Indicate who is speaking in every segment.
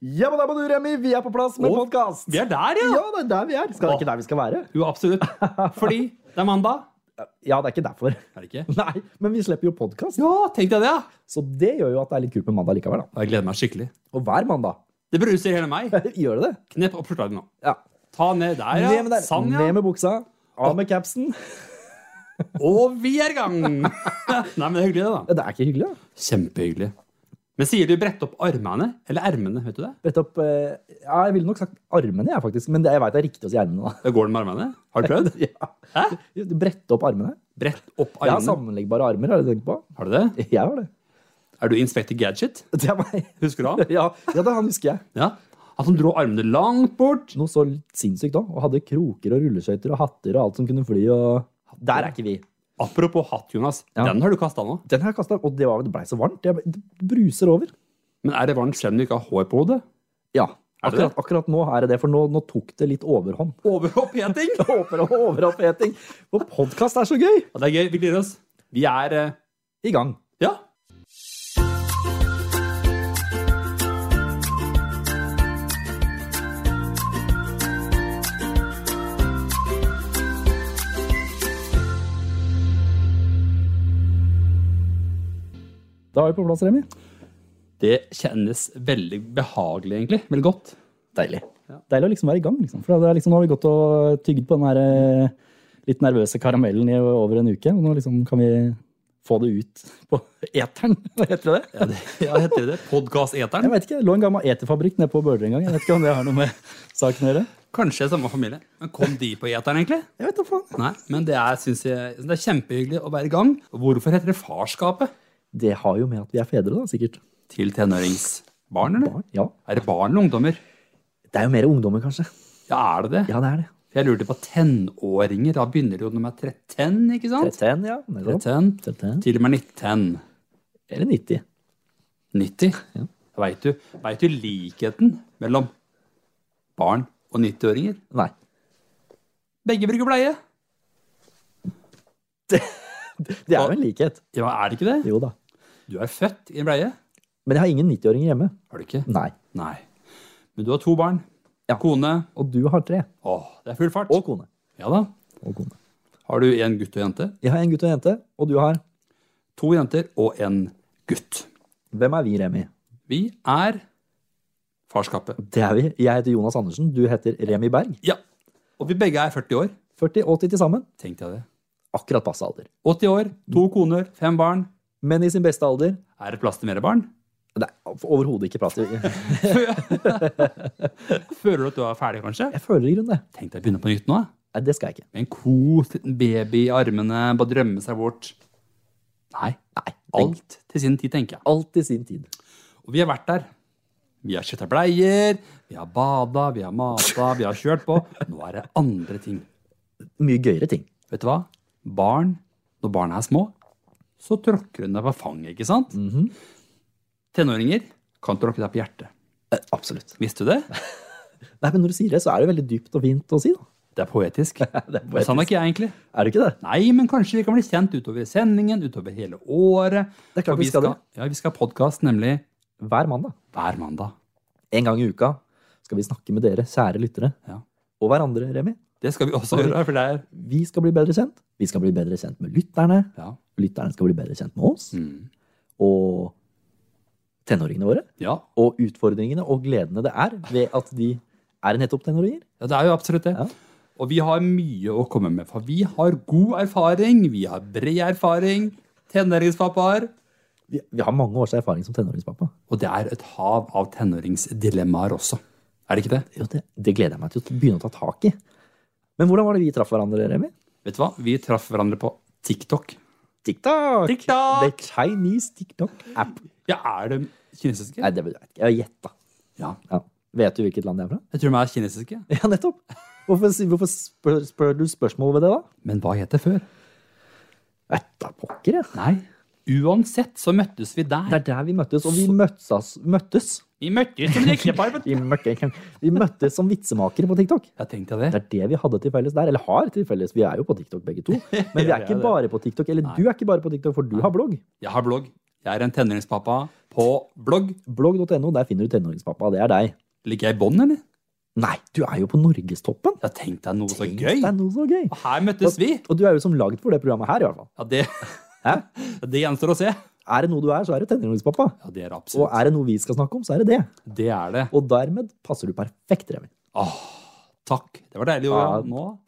Speaker 1: Jabba dabba du, Remi, vi er på plass med
Speaker 2: Og
Speaker 1: podkast!
Speaker 2: Vi er der, ja!
Speaker 1: Ja, det er der vi er. Skal det ikke der vi skal være?
Speaker 2: Jo, absolutt. Fordi det er mandag.
Speaker 1: Ja, det er ikke derfor.
Speaker 2: Er det ikke?
Speaker 1: Nei, men vi slipper jo podkast,
Speaker 2: Ja, tenk deg det! ja.
Speaker 1: så det gjør jo at det er litt kult med mandag likevel. da.
Speaker 2: Jeg gleder meg skikkelig.
Speaker 1: Og hver mandag
Speaker 2: Det bruser hele meg.
Speaker 1: gjør det det.
Speaker 2: Knepp opp forslaget nå.
Speaker 1: Ja.
Speaker 2: Ta ned der,
Speaker 1: Ned med,
Speaker 2: ja.
Speaker 1: der.
Speaker 2: Sann, ja.
Speaker 1: Ned med buksa, av med capsen.
Speaker 2: Og vi er i gang! Nei, men det er hyggelig,
Speaker 1: Det
Speaker 2: det,
Speaker 1: er ikke hyggelig, da.
Speaker 2: da. Kjempehyggelig. Men sier du brett opp armene eller ermene? Vet du det?
Speaker 1: Brett opp eh, Ja, jeg ville nok sagt armene, jeg, faktisk. Men det, jeg veit det er riktig å si ermene, da.
Speaker 2: Da går det med armene? Har du prøvd? Hæ?
Speaker 1: Du Brette opp armene.
Speaker 2: Brett opp
Speaker 1: Jeg har
Speaker 2: armene.
Speaker 1: sammenleggbare armer, har du tenkt på?
Speaker 2: Har du det?
Speaker 1: Jeg har det.
Speaker 2: Er du Inspector Gadget?
Speaker 1: Det er meg.
Speaker 2: Husker du han?
Speaker 1: Ja, ja det han husker jeg.
Speaker 2: Ja. Han som dro armene langt bort.
Speaker 1: noe så sinnssykt da, og hadde kroker og rulleskøyter og hatter og alt som kunne fly. og... Der er ikke vi.
Speaker 2: Apropos hatt, Jonas.
Speaker 1: Ja.
Speaker 2: Den har du kasta nå.
Speaker 1: Den her kastet, og det, var, det ble så varmt. Jeg, det bruser over.
Speaker 2: Men er det varmt selv om du ikke har hår på hodet?
Speaker 1: Ja,
Speaker 2: Er det det?
Speaker 1: akkurat, akkurat nå er det det, for nå, nå tok det litt overhånd.
Speaker 2: Overoppheting!
Speaker 1: Over og overoppheting. For podkast er så gøy!
Speaker 2: Ja, det er gøy. Vi gleder oss. Vi er eh,
Speaker 1: I gang.
Speaker 2: Ja.
Speaker 1: Da er vi på plass, Remi.
Speaker 2: Det kjennes veldig behagelig, egentlig. Veldig godt.
Speaker 1: Deilig. Deilig å liksom være i gang, liksom. For det er liksom, nå har vi gått og tygget på den her eh, litt nervøse karamellen i over en uke. Og nå liksom kan vi få det ut på eteren. Hva heter det?
Speaker 2: Ja, det, ja heter det
Speaker 1: Jeg
Speaker 2: Podkast-eteren?
Speaker 1: vet ikke, det lå en gammel eterfabrikk nede på Bøler en gang. Jeg vet ikke om det har noe med saken å gjøre.
Speaker 2: Kanskje samme familie. Men kom de på eteren, egentlig?
Speaker 1: Jeg vet da faen.
Speaker 2: Nei, men det er, synes jeg, det er kjempehyggelig å være i gang. Hvorfor heter det Farskapet?
Speaker 1: Det har jo med at vi er fedre, da, sikkert.
Speaker 2: Til tenåringsbarn, eller?
Speaker 1: Barn, ja.
Speaker 2: Er det barn eller ungdommer?
Speaker 1: Det er jo mer ungdommer, kanskje.
Speaker 2: Ja, er det det?
Speaker 1: Ja, det er det.
Speaker 2: Jeg lurte på tenåringer. Da begynner det jo når de er 13, ikke sant?
Speaker 1: 13, ja. nettopp.
Speaker 2: 13.
Speaker 1: 13.
Speaker 2: Til og med 19.
Speaker 1: Eller 90.
Speaker 2: 90. Veit du, vet du likheten mellom barn og 90-åringer?
Speaker 1: Nei.
Speaker 2: Begge bruker bleie.
Speaker 1: Det er jo en likhet.
Speaker 2: Ja, er det ikke det?
Speaker 1: Jo da.
Speaker 2: Du er født i en bleie.
Speaker 1: Men jeg har ingen 90-åringer hjemme.
Speaker 2: Har du ikke?
Speaker 1: Nei.
Speaker 2: Nei. Men du har to barn. Kone.
Speaker 1: Og du har tre.
Speaker 2: Åh, det er full fart.
Speaker 1: Og kone.
Speaker 2: Ja da.
Speaker 1: Og kone.
Speaker 2: Har du en gutt og jente?
Speaker 1: Jeg har en gutt og en jente, og du har
Speaker 2: To jenter og en gutt.
Speaker 1: Hvem er vi, Remi?
Speaker 2: Vi er farskapet.
Speaker 1: Det er vi. Jeg heter Jonas Andersen. Du heter Remi Berg.
Speaker 2: Ja. Og vi begge er 40 år.
Speaker 1: 40-80 til sammen.
Speaker 2: Tenkte jeg det.
Speaker 1: Akkurat passe alder.
Speaker 2: 80 år, to koner, fem barn.
Speaker 1: Men i sin beste alder
Speaker 2: Er det plass til mer barn?
Speaker 1: Det er overhodet ikke plass til
Speaker 2: Føler du at du er ferdig, kanskje?
Speaker 1: Jeg føler i grunnen det.
Speaker 2: Tenk deg å begynne på nytt nå. da.
Speaker 1: Nei, det skal jeg ikke.
Speaker 2: Med en kos, liten baby i armene, bare drømme seg bort. Nei.
Speaker 1: Nei, alt,
Speaker 2: Alt til sin tid, tenker jeg.
Speaker 1: alt i sin tid.
Speaker 2: Og vi har vært der. Vi har skjøtta bleier, vi har bada, vi har mata, vi har kjørt på. Nå er det andre ting.
Speaker 1: Mye gøyere ting.
Speaker 2: Vet du hva? Barn, når barna er små, så tråkker hun deg på fanget, ikke sant?
Speaker 1: Mhm.
Speaker 2: Tenåringer kan tråkke deg på hjertet.
Speaker 1: Eh, absolutt.
Speaker 2: Visste du det?
Speaker 1: Nei, men når du sier det, så er det veldig dypt og fint å si, da.
Speaker 2: Det er poetisk.
Speaker 1: Det er,
Speaker 2: Men Sånn er ikke jeg, egentlig.
Speaker 1: er det ikke det?
Speaker 2: Nei, men kanskje vi kan bli kjent utover sendingen, utover hele året.
Speaker 1: Det er klart
Speaker 2: For
Speaker 1: vi skal det.
Speaker 2: Ja, vi skal ha podkast nemlig
Speaker 1: Hver mandag,
Speaker 2: hver mandag.
Speaker 1: en gang i uka, skal vi snakke med dere, kjære lyttere,
Speaker 2: Ja.
Speaker 1: og hverandre, Remi.
Speaker 2: Det skal vi også gjøre, for det er
Speaker 1: Vi skal bli bedre kjent. Vi skal bli bedre kjent med lytterne.
Speaker 2: Ja.
Speaker 1: Lytterne skal bli bedre kjent med oss.
Speaker 2: Mm.
Speaker 1: Og tenåringene våre.
Speaker 2: Ja,
Speaker 1: Og utfordringene og gledene det er ved at de er nettopp tenåringer.
Speaker 2: Ja, det er jo absolutt det.
Speaker 1: Ja.
Speaker 2: Og vi har mye å komme med, for vi har god erfaring, vi har bred erfaring, tenåringspappaer,
Speaker 1: Vi, vi har mange års erfaring som tenåringspappa.
Speaker 2: og det er et hav av tenåringsdilemmaer også. Er det ikke det?
Speaker 1: Jo, det, det gleder jeg meg til å begynne å ta tak i. Men hvordan var det vi traff hverandre, Remi?
Speaker 2: Vet du hva? Vi traff hverandre på TikTok.
Speaker 1: TikTok!
Speaker 2: TikTok!
Speaker 1: The Chinese TikTok-app.
Speaker 2: Ja, er de kinesiske?
Speaker 1: Nei, det vet jeg ikke. Jeg har gjetta.
Speaker 2: Ja.
Speaker 1: Ja. Vet du hvilket land det er fra?
Speaker 2: Jeg tror de er kinesiske.
Speaker 1: Ja, nettopp. Hvorfor, si- hvorfor spør, spør du spørsmål ved det, da?
Speaker 2: Men hva het det før?
Speaker 1: Etta pokker, ja.
Speaker 2: Nei. Uansett så møttes vi
Speaker 1: Det
Speaker 2: der.
Speaker 1: er der vi møttes, og vi møttes, ass- møttes.
Speaker 2: Vi møttes som et ektepar. vet du.
Speaker 1: Vi, møtte- vi møttes som vitsemakere på TikTok.
Speaker 2: Ja, tenkte
Speaker 1: Det
Speaker 2: jeg det.
Speaker 1: er det vi hadde til felles der. Eller har til felles. Vi er jo på TikTok begge to. Men vi
Speaker 2: Ja,
Speaker 1: er
Speaker 2: vi er
Speaker 1: ikke
Speaker 2: det.
Speaker 1: bare på TikTok. Eller du er ikke bare på TikTok, for du har blogg.
Speaker 2: Jeg har blogg. Jeg er en tenåringspappa på blogg.
Speaker 1: Blogg.no, der finner du tenåringspappa. Det er deg.
Speaker 2: Ligger jeg i bånn, eller?
Speaker 1: Nei, du er jo på norgestoppen!
Speaker 2: Ja, tenk deg noe så
Speaker 1: Tenk
Speaker 2: gøy!
Speaker 1: deg noe så gøy.
Speaker 2: Og her møttes vi!
Speaker 1: Og du er jo som lagd for det programmet her, i hvert fall.
Speaker 2: Ja, det, det gjenstår å se.
Speaker 1: Er det noe du er, så er det tenåringspappa.
Speaker 2: Ja, det er det
Speaker 1: Og
Speaker 2: absolutt.
Speaker 1: er det noe vi skal snakke om, så er det det.
Speaker 2: Det er det.
Speaker 1: Og dermed passer du perfekt, Remi.
Speaker 2: Åh, takk. Det var
Speaker 1: Ja.
Speaker 2: deilig. Ja. Mm. Nå,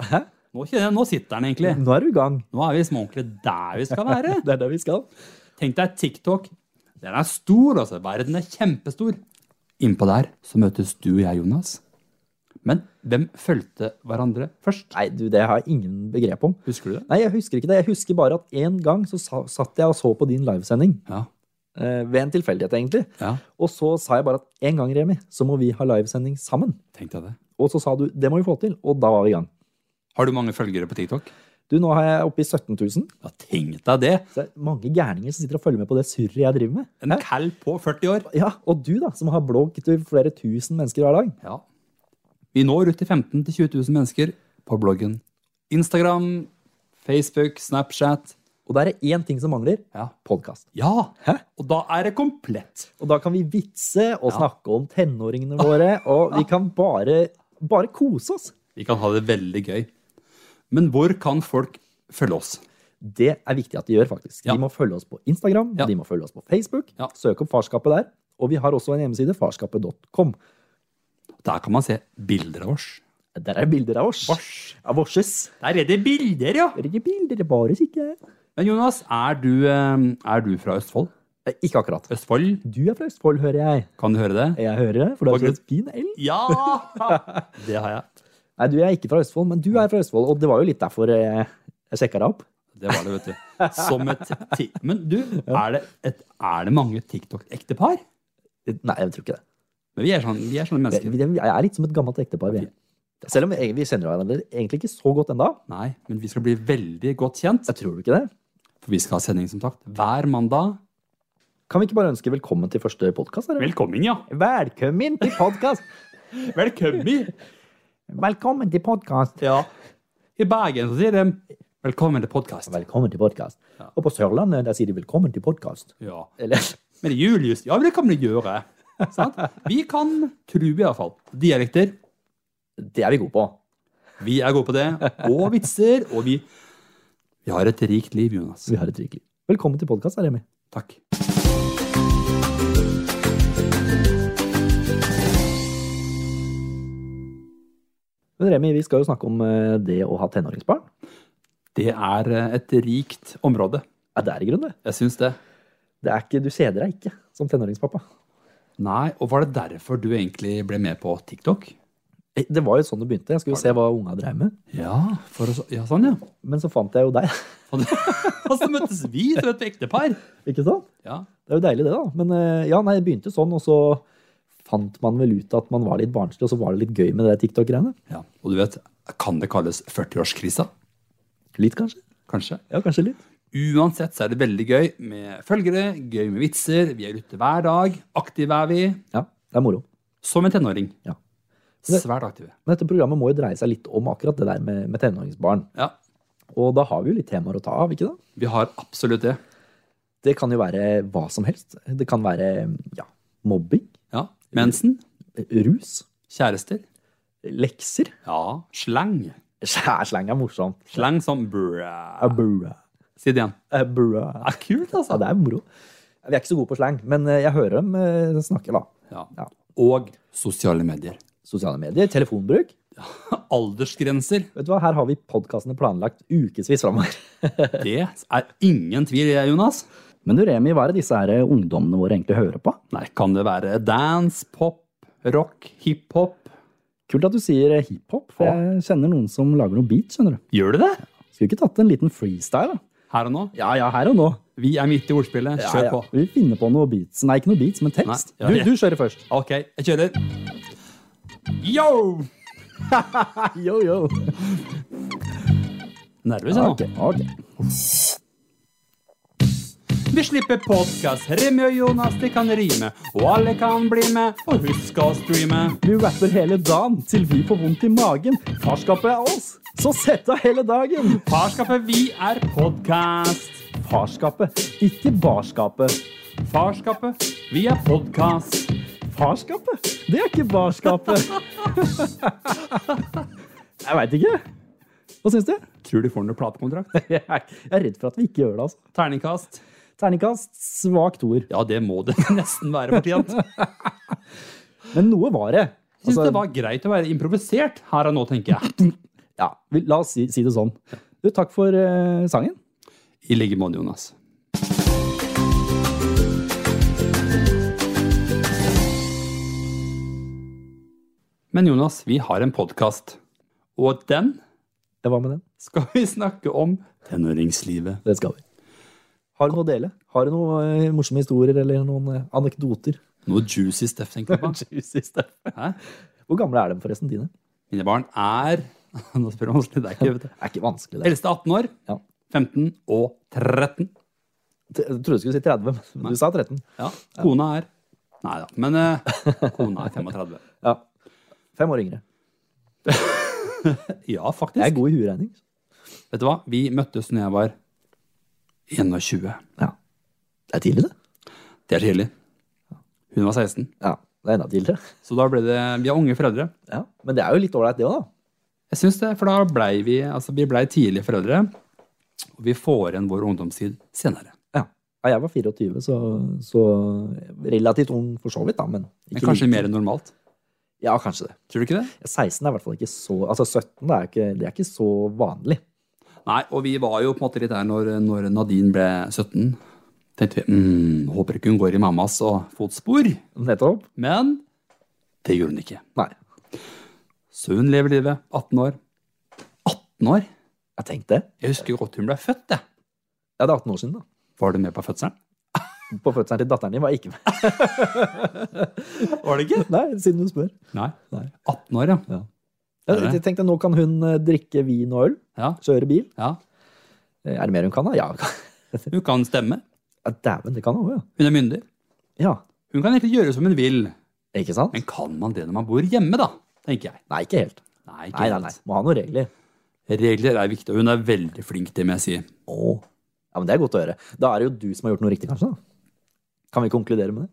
Speaker 2: nå kjenner jeg, nå sitter den egentlig.
Speaker 1: Nå er du i gang.
Speaker 2: Nå er vi som ordentlig der vi skal være.
Speaker 1: Det er det vi skal.
Speaker 2: Tenk deg TikTok. Den er stor, altså. Verden er kjempestor. Innpå der så møtes du og jeg, Jonas. Men hvem fulgte hverandre først?
Speaker 1: Nei, du, det har jeg ingen begrep om.
Speaker 2: Husker du det?
Speaker 1: Nei, jeg husker ikke det. Jeg husker bare at en gang så sa, satt jeg og så på din livesending.
Speaker 2: Ja.
Speaker 1: Eh, ved en tilfeldighet, egentlig.
Speaker 2: ja.
Speaker 1: Og så sa jeg bare at en gang, Remi, så må vi ha livesending sammen.
Speaker 2: Tenk deg det.
Speaker 1: Og så sa du det må vi få til, og da var vi i gang.
Speaker 2: Har du mange følgere på TikTok?
Speaker 1: Du, nå har jeg oppe i 17 000.
Speaker 2: Ja, tenk deg det.
Speaker 1: Så det er mange gærninger som sitter og følger med på det surret jeg driver med.
Speaker 2: En kall på 40 år.
Speaker 1: Ja, Og du, da, som har blogg til flere tusen mennesker hver dag.
Speaker 2: Ja. Vi når ut til 15 til 20 000 mennesker på bloggen. Instagram, Facebook, Snapchat.
Speaker 1: Og da er det én ting som mangler.
Speaker 2: Ja.
Speaker 1: Podkast.
Speaker 2: Ja, og da er det komplett.
Speaker 1: Og da kan vi vitse og snakke om tenåringene våre, og vi kan bare, bare kose oss.
Speaker 2: Vi kan ha det veldig gøy. Men hvor kan folk følge oss?
Speaker 1: Det er viktig at de gjør, faktisk.
Speaker 2: Ja.
Speaker 1: De må følge oss på Instagram,
Speaker 2: Ja.
Speaker 1: de må følge oss på Facebook.
Speaker 2: Ja.
Speaker 1: Søk opp Farskapet der. Og vi har også en hjemmeside, farskapet.com.
Speaker 2: Der kan man se bilder av oss.
Speaker 1: Der er bilder av oss. Av vårses.
Speaker 2: Der er det bilder, ja!
Speaker 1: Der er ikke bilder, det er bare kikke.
Speaker 2: Men Jonas, er du, eh, er du fra Østfold?
Speaker 1: Eh, Ikke akkurat.
Speaker 2: Østfold,
Speaker 1: Du er fra Østfold, hører jeg.
Speaker 2: kan du høre det?
Speaker 1: Jeg hører det, for du
Speaker 2: Hva
Speaker 1: har
Speaker 2: grunn-
Speaker 1: en fin L.
Speaker 2: Ja! Det har jeg.
Speaker 1: Nei, du er ikke fra Østfold, men du er fra Østfold, og det var jo litt derfor eh, jeg sjekka deg opp.
Speaker 2: Det var det, vet du. Som et ti... Men du, er det, et, er det mange TikTok-ektepar?
Speaker 1: Nei, jeg tror ikke det.
Speaker 2: Men vi er sånn- vi er sånne mennesker.
Speaker 1: Vi, vi er litt som et gammelt ektepar. vi. Selv om vi vi kjenner hverandre egentlig ikke så godt ennå.
Speaker 2: Nei, men vi skal bli veldig godt kjent.
Speaker 1: Jeg tror ikke det.
Speaker 2: For vi skal ha sending, som sagt, hver mandag.
Speaker 1: Kan vi ikke bare ønske velkommen til første podkast?
Speaker 2: Velkommen, ja.
Speaker 1: Velkommen til podkast!
Speaker 2: Velkommen.
Speaker 1: Velkommen til podkast!
Speaker 2: Ja. I Bergen så sier de 'velkommen til podkast'.
Speaker 1: Velkommen til podkast. Og på Sørlandet der sier de 'velkommen til podkast'.
Speaker 2: Ja.
Speaker 1: Eller
Speaker 2: Men det er Julius Ja, det kan vi gjøre. Sant? Vi kan, tror vi iallfall, dialekter.
Speaker 1: Det er vi gode på.
Speaker 2: Vi er gode på det. Og vitser. Og vi Vi har et rikt liv, Jonas.
Speaker 1: Så vi har et rikt liv. Velkommen til podkast, Remi.
Speaker 2: Takk.
Speaker 1: Men Remi, vi skal jo snakke om eh, det å ha tenåringsbarn.
Speaker 2: Det er eh, et rikt område.
Speaker 1: Ja, det er i grunnen det.
Speaker 2: Jeg syns det.
Speaker 1: det er ikke, du kjeder deg ikke som tenåringspappa.
Speaker 2: Nei, og var det derfor du egentlig ble med på TikTok?
Speaker 1: Eh, Det var jo sånn det begynte. Jeg skulle jo se hva unga dreiv med.
Speaker 2: Ja, for å, så- ja sånn, ja.
Speaker 1: Men så fant jeg jo deg.
Speaker 2: Og det- og så møttes vi som et ektepar.
Speaker 1: Ikke sant?
Speaker 2: Ja.
Speaker 1: Det er jo deilig, det, da. Men eh, ja, nei, det begynte sånn, og så fant man vel ut at man var litt barnslig, og så var det litt gøy med det TikTok-greiene.
Speaker 2: ja. Og du vet, kan det kalles 40-årskrisa?
Speaker 1: Litt, kanskje?
Speaker 2: Kanskje.
Speaker 1: Ja, kanskje litt.
Speaker 2: Uansett så er det veldig gøy med følgere, gøy med vitser. Vi er ute hver dag. Aktive er vi.
Speaker 1: Ja, det er moro.
Speaker 2: Som en tenåring.
Speaker 1: Ja.
Speaker 2: Svært aktive.
Speaker 1: Men dette programmet må jo dreie seg litt om akkurat det der med, med tenåringsbarn.
Speaker 2: Ja,
Speaker 1: Og da har vi jo litt temaer å ta av, ikke da?
Speaker 2: vi har absolutt det.
Speaker 1: Det kan jo være hva som helst. Det kan være ja, mobbing, eh,
Speaker 2: Ja. Mensen.
Speaker 1: rus,
Speaker 2: Kjærester.
Speaker 1: lekser.
Speaker 2: Ja. Slang.
Speaker 1: Skjærslang er morsomt.
Speaker 2: Slang som brø.
Speaker 1: Abura.
Speaker 2: Si det igjen.
Speaker 1: Abura.
Speaker 2: Det er kult,
Speaker 1: Ja,
Speaker 2: altså.
Speaker 1: det er moro. Vi er ikke så gode på slang, men eh, jeg hører dem eh, snakke, da.
Speaker 2: Ja.
Speaker 1: Ja.
Speaker 2: Og sosiale medier.
Speaker 1: Sosiale medier, telefonbruk.
Speaker 2: Aldersgrenser.
Speaker 1: Vet du hva, Her har vi podkastene planlagt ukevis framover.
Speaker 2: Det er ingen tvil, jeg, Jonas.
Speaker 1: Men du, Remi, hva er det disse her eh, ungdommene våre egentlig hører på?
Speaker 2: Nei, kan det være dance, pop, rock, hiphop?
Speaker 1: Kult at du sier eh, hiphop, for jeg kjenner noen som lager noe beat, skjønner du.
Speaker 2: Gjør det det?
Speaker 1: Skulle ikke tatt en liten freestyle, da?
Speaker 2: Her og nå?
Speaker 1: Ja, ja, her og nå.
Speaker 2: Vi er midt i ordspillet.
Speaker 1: Ja,
Speaker 2: Kjør
Speaker 1: ja.
Speaker 2: på.
Speaker 1: Vi finner på noe beats. Nei, ikke noe beats, men tekst.
Speaker 2: Nei, ja, ja.
Speaker 1: Du, du kjører først.
Speaker 2: Ok, jeg kjører. Yo!
Speaker 1: Yo, yo.
Speaker 2: Nervøs jeg nå.
Speaker 1: Ok, ok.
Speaker 2: Vi slipper podkast. Remi og Jonas, de kan rime. Og alle kan bli med. Og husk å streame.
Speaker 1: Du rapper hele dagen til vi får vondt i magen. Farskapet er oss, så sett av hele dagen.
Speaker 2: Farskapet, vi er podkast.
Speaker 1: Farskapet, ikke barskapet.
Speaker 2: Farskapet via podkast.
Speaker 1: Farskapet? Det er ikke barskapet! jeg veit ikke. Hva syns du?
Speaker 2: Tror de får noen platekontrakt?
Speaker 1: Jeg er jeg er redd for at vi ikke gjør det. altså.
Speaker 2: Terningkast?
Speaker 1: Terningkast, svak toer.
Speaker 2: Ja, det må det nesten være fortjent. Jeg
Speaker 1: Men noe var det.
Speaker 2: syns
Speaker 1: Altså,
Speaker 2: det var greit å være improvisert her og nå, tenker jeg.
Speaker 1: ja, vi, la oss si, si det sånn. Du, takk for eh, sangen.
Speaker 2: I like måte, Jonas. Men Jonas, vi har en podkast, og den
Speaker 1: Jeg var med den.
Speaker 2: skal vi snakke om tenåringslivet.
Speaker 1: Det skal vi. Har du noe å dele? Har du noen eh, morsomme historier eller noen eh, anekdoter?
Speaker 2: Noe juicy stuff, tenkte jeg på.
Speaker 1: Juicy stuff.
Speaker 2: Hæ?
Speaker 1: Hvor gamle er de forresten, dine?
Speaker 2: Mine barn er Nå spør jeg vanskelig, det er ikke vet du.
Speaker 1: Det er ikke vanskelig, det.
Speaker 2: Eldste 18 år.
Speaker 1: Ja.
Speaker 2: 15 og 13.
Speaker 1: T- Jeg trodde du skulle si 30, men du sa 13.
Speaker 2: Ja, kona er Nei da, men eh, kona er 35.
Speaker 1: Ja. Fem år yngre.
Speaker 2: Ja, faktisk.
Speaker 1: Jeg er god i huregning.
Speaker 2: Vet du hva? Vi møttes når jeg var 21.
Speaker 1: Ja. Det er tidlig, det.
Speaker 2: Det er tidlig. Hun var 16.
Speaker 1: Ja, det er enda tidligere.
Speaker 2: Så da ble det Vi er unge foreldre.
Speaker 1: Ja. Men det er jo litt ålreit, det òg, da.
Speaker 2: Jeg syns det, for da blei vi Altså, vi blei tidlige foreldre. Og vi får igjen vår ungdomstid senere.
Speaker 1: Ja. ja. Jeg var 24, så, så relativt ung for så vidt, da, men
Speaker 2: Men kanskje
Speaker 1: like.
Speaker 2: mer enn normalt.
Speaker 1: Ja, kanskje det.
Speaker 2: Tror du ikke det?
Speaker 1: 16 er i hvert fall ikke så Altså 17 er ikke, det er ikke så vanlig.
Speaker 2: Nei, og vi var jo på en måte litt der når, når Nadine ble 17. Tenkte vi mm, håper ikke hun går i mammas og fotspor.
Speaker 1: Nettopp.
Speaker 2: Men det gjorde hun ikke.
Speaker 1: Nei.
Speaker 2: Så hun lever livet. 18 år. 18 år?
Speaker 1: Jeg tenkte det.
Speaker 2: Jeg husker jo godt hun ble født, jeg.
Speaker 1: Ja, det er 18 år siden, da.
Speaker 2: Var du med på fødselen?
Speaker 1: På fødselen til datteren din var jeg ikke med.
Speaker 2: Var det ikke?
Speaker 1: Nei, siden du spør.
Speaker 2: Nei.
Speaker 1: Nei.
Speaker 2: 18 år, ja.
Speaker 1: Jeg,
Speaker 2: Er det?
Speaker 1: jeg tenkte nå kan hun eh, drikke vin og øl,
Speaker 2: Ja,
Speaker 1: kjøre bil.
Speaker 2: ja.
Speaker 1: Eh, Er det mer hun kan, da? Ja, hun kan-
Speaker 2: Hun kan stemme.
Speaker 1: ja dæven, det kan hun òg,
Speaker 2: Hun er myndig.
Speaker 1: ja. ja.
Speaker 2: Hun kan egentlig gjøre som hun vil.
Speaker 1: Ikke sant?
Speaker 2: Men kan man det når man bor hjemme, da? Tenker jeg.
Speaker 1: Nei, ikke helt.
Speaker 2: Nei, ikke
Speaker 1: Nei, nei, nei. Må ha noen regler.
Speaker 2: helt. Regler er viktig, og hun er veldig flink, det må jeg si.
Speaker 1: Åh. Ja, men Det er godt å høre. Da er det jo du som har gjort noe riktig, kanskje? da? Kan vi konkludere med det?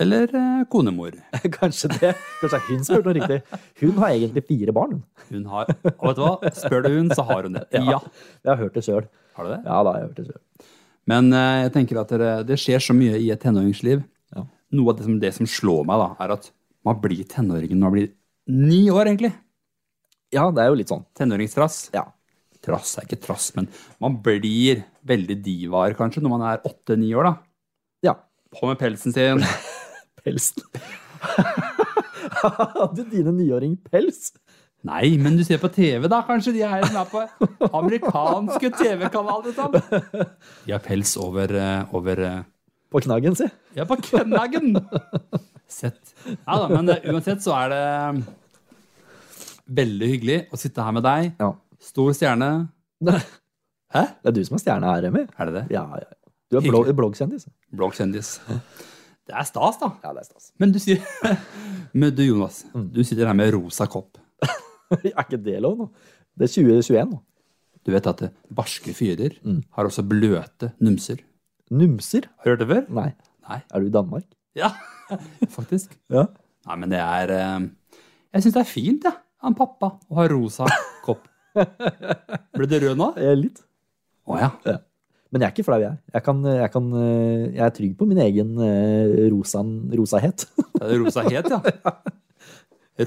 Speaker 2: Eller eh, konemor.
Speaker 1: Kanskje det. Kanskje hun som har gjort noe riktig. Hun har egentlig fire barn. hun.
Speaker 2: Hun har Og vet du hva? Spør du hun, så har hun det. Ja.
Speaker 1: Jeg har hørt det sjøl.
Speaker 2: Har du det?
Speaker 1: Ja, da har jeg hørt det selv.
Speaker 2: Men eh, jeg tenker at det, det skjer så mye i et tenåringsliv.
Speaker 1: Ja.
Speaker 2: Noe av det som, det som slår meg, da, er at man blir tenåring når man blir ni år, egentlig.
Speaker 1: Ja, det er jo litt sånn.
Speaker 2: Tenåringstrass.
Speaker 1: Ja.
Speaker 2: Trass er ikke trass, men man blir veldig divaer, kanskje, når man er åtte-ni år, da.
Speaker 1: ja.
Speaker 2: På med pelsen sin.
Speaker 1: Pelsen. Hadde dine niåring pels?
Speaker 2: Nei, men du ser på TV, da, kanskje. De er den er på amerikanske TV-kanaler, liksom. De har pels over, eh, over eh,
Speaker 1: På knaggen, si.
Speaker 2: Ja, på Kønnagen! Sett. Ja da, men eh, uansett så er det eh, veldig hyggelig å sitte her med deg.
Speaker 1: Ja.
Speaker 2: Stor stjerne.
Speaker 1: Det
Speaker 2: Hæ?
Speaker 1: er du som er stjerna her, Remi.
Speaker 2: Er det det?
Speaker 1: Ja, ja. Du er blogg, bloggkjendis.
Speaker 2: Bloggkjendis. Det er stas, da.
Speaker 1: Ja, det er stas.
Speaker 2: Men du sier Men du, Jonas. Du sitter her med rosa kopp.
Speaker 1: er ikke det lov nå? Det er 2021 nå.
Speaker 2: Du vet at eh, barske fyrer har også bløte numser.
Speaker 1: Numser?
Speaker 2: Har du hørt det før?
Speaker 1: Nei.
Speaker 2: Nei.
Speaker 1: Er du i Danmark?
Speaker 2: Ja, faktisk.
Speaker 1: Ja.
Speaker 2: Nei, men det er eh, Jeg syns det er fint, jeg, ja, av pappa, å ha rosa kopp. Ble det rød nå?
Speaker 1: Jeg er litt.
Speaker 2: Å ja.
Speaker 1: Ja. Men jeg er ikke flau, jeg. Jeg, kan, jeg, kan, eh, jeg er trygg på min egen eh, rosan, rosahet.
Speaker 2: Det er rosa het, ja.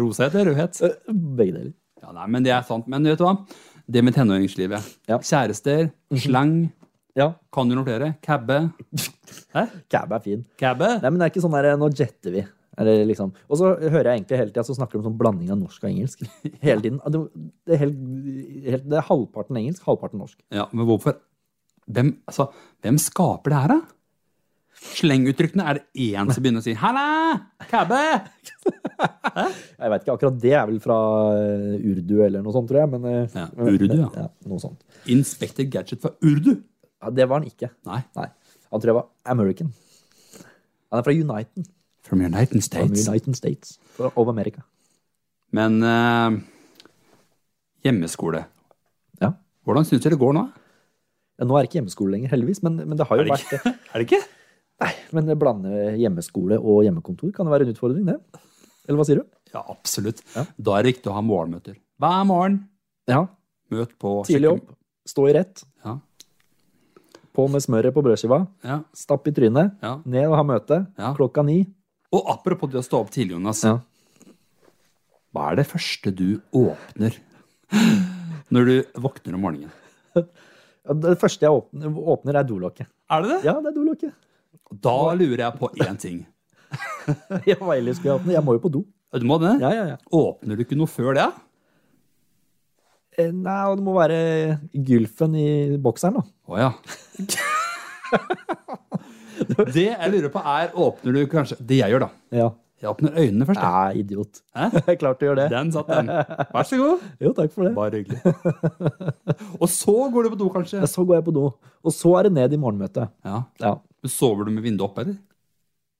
Speaker 2: Rosa het eller rødhet?
Speaker 1: Eh, Begge deler.
Speaker 2: Ja, nei, men det er sant. Men vet du hva? Det med tenåringslivet.
Speaker 1: Ja.
Speaker 2: Kjærester, slang,
Speaker 1: Ja.
Speaker 2: kan du noe flere? Cabbe. Hæ?
Speaker 1: Cab er fin.
Speaker 2: Cabbe?
Speaker 1: Nei, men det er ikke sånn der Nå jetter vi. Eller liksom. Og så hører jeg egentlig hele tida så snakker de om sånn blanding av norsk og engelsk. Hele tiden. Det, det, er helt, helt, det er halvparten engelsk, halvparten norsk.
Speaker 2: Ja, men hvorfor? Hvem, altså, hvem skaper det her, da? Slenguttrykkene er det én som begynner å si 'halla, cabbe'.
Speaker 1: Jeg vet ikke, akkurat det er vel fra eh, urdu eller noe sånt, tror jeg. Men, eh,
Speaker 2: Ja,
Speaker 1: men-
Speaker 2: urdu, ja.
Speaker 1: Noe sånt.
Speaker 2: Inspector Gadget fra Urdu.
Speaker 1: Ja, det var han ikke.
Speaker 2: Nei,
Speaker 1: Nei. Han tror jeg var American. Han er fra Uniten.
Speaker 2: from United
Speaker 1: From
Speaker 2: States.
Speaker 1: United States. Fra- Of America.
Speaker 2: Men eh, hjemmeskole.
Speaker 1: Ja.
Speaker 2: Hvordan syns dere det går nå?
Speaker 1: Ja, Nå er det ikke hjemmeskole lenger, heldigvis, men, men det har jo
Speaker 2: Er det
Speaker 1: vært
Speaker 2: ikke? Er det ikke?
Speaker 1: Nei, men blande hjemmeskole og hjemmekontor kan jo være en utfordring, det. Eller hva sier du?
Speaker 2: Ja, absolutt.
Speaker 1: Ja.
Speaker 2: Da er det riktig å ha morgenmøter. Hver morgen.
Speaker 1: Ja.
Speaker 2: Møt på
Speaker 1: Tidlig opp, stå i rett,
Speaker 2: Ja,
Speaker 1: på med smøret på brødskiva,
Speaker 2: ja,
Speaker 1: stapp i trynet,
Speaker 2: ja.
Speaker 1: ned og ha møte,
Speaker 2: Ja.
Speaker 1: klokka ni.
Speaker 2: Og apropos det å stå opp tidlig, Jonas.
Speaker 1: Ja.
Speaker 2: Hva er det første du åpner når du våkner om morgenen?
Speaker 1: Ja, Det første jeg åpner, åpner er dolokket.
Speaker 2: Er det det?
Speaker 1: Ja, det er dolokket.
Speaker 2: Da lurer jeg på én ting.
Speaker 1: Ja, hva ellers skulle jeg åpne? Jeg må jo på do.
Speaker 2: Du må det?
Speaker 1: Ja, ja, ja.
Speaker 2: Åpner du ikke noe før det?
Speaker 1: Eh, Nei, og det må være gylfen i bokseren, da.
Speaker 2: Å ja. Det jeg lurer på, er Åpner du kanskje Det jeg gjør, da.
Speaker 1: Ja.
Speaker 2: Jeg åpner øynene først. jeg.
Speaker 1: Nei, idiot.
Speaker 2: Hæ?
Speaker 1: Klart du gjør det.
Speaker 2: Den satt, den. Vær så god.
Speaker 1: Jo, takk for det.
Speaker 2: Bare hyggelig. Og så går du på do, kanskje?
Speaker 1: Ja, Så går jeg på do. Og så er det ned i morgenmøtet.
Speaker 2: Ja.
Speaker 1: Ja.
Speaker 2: Men Sover du med vinduet opp, eller?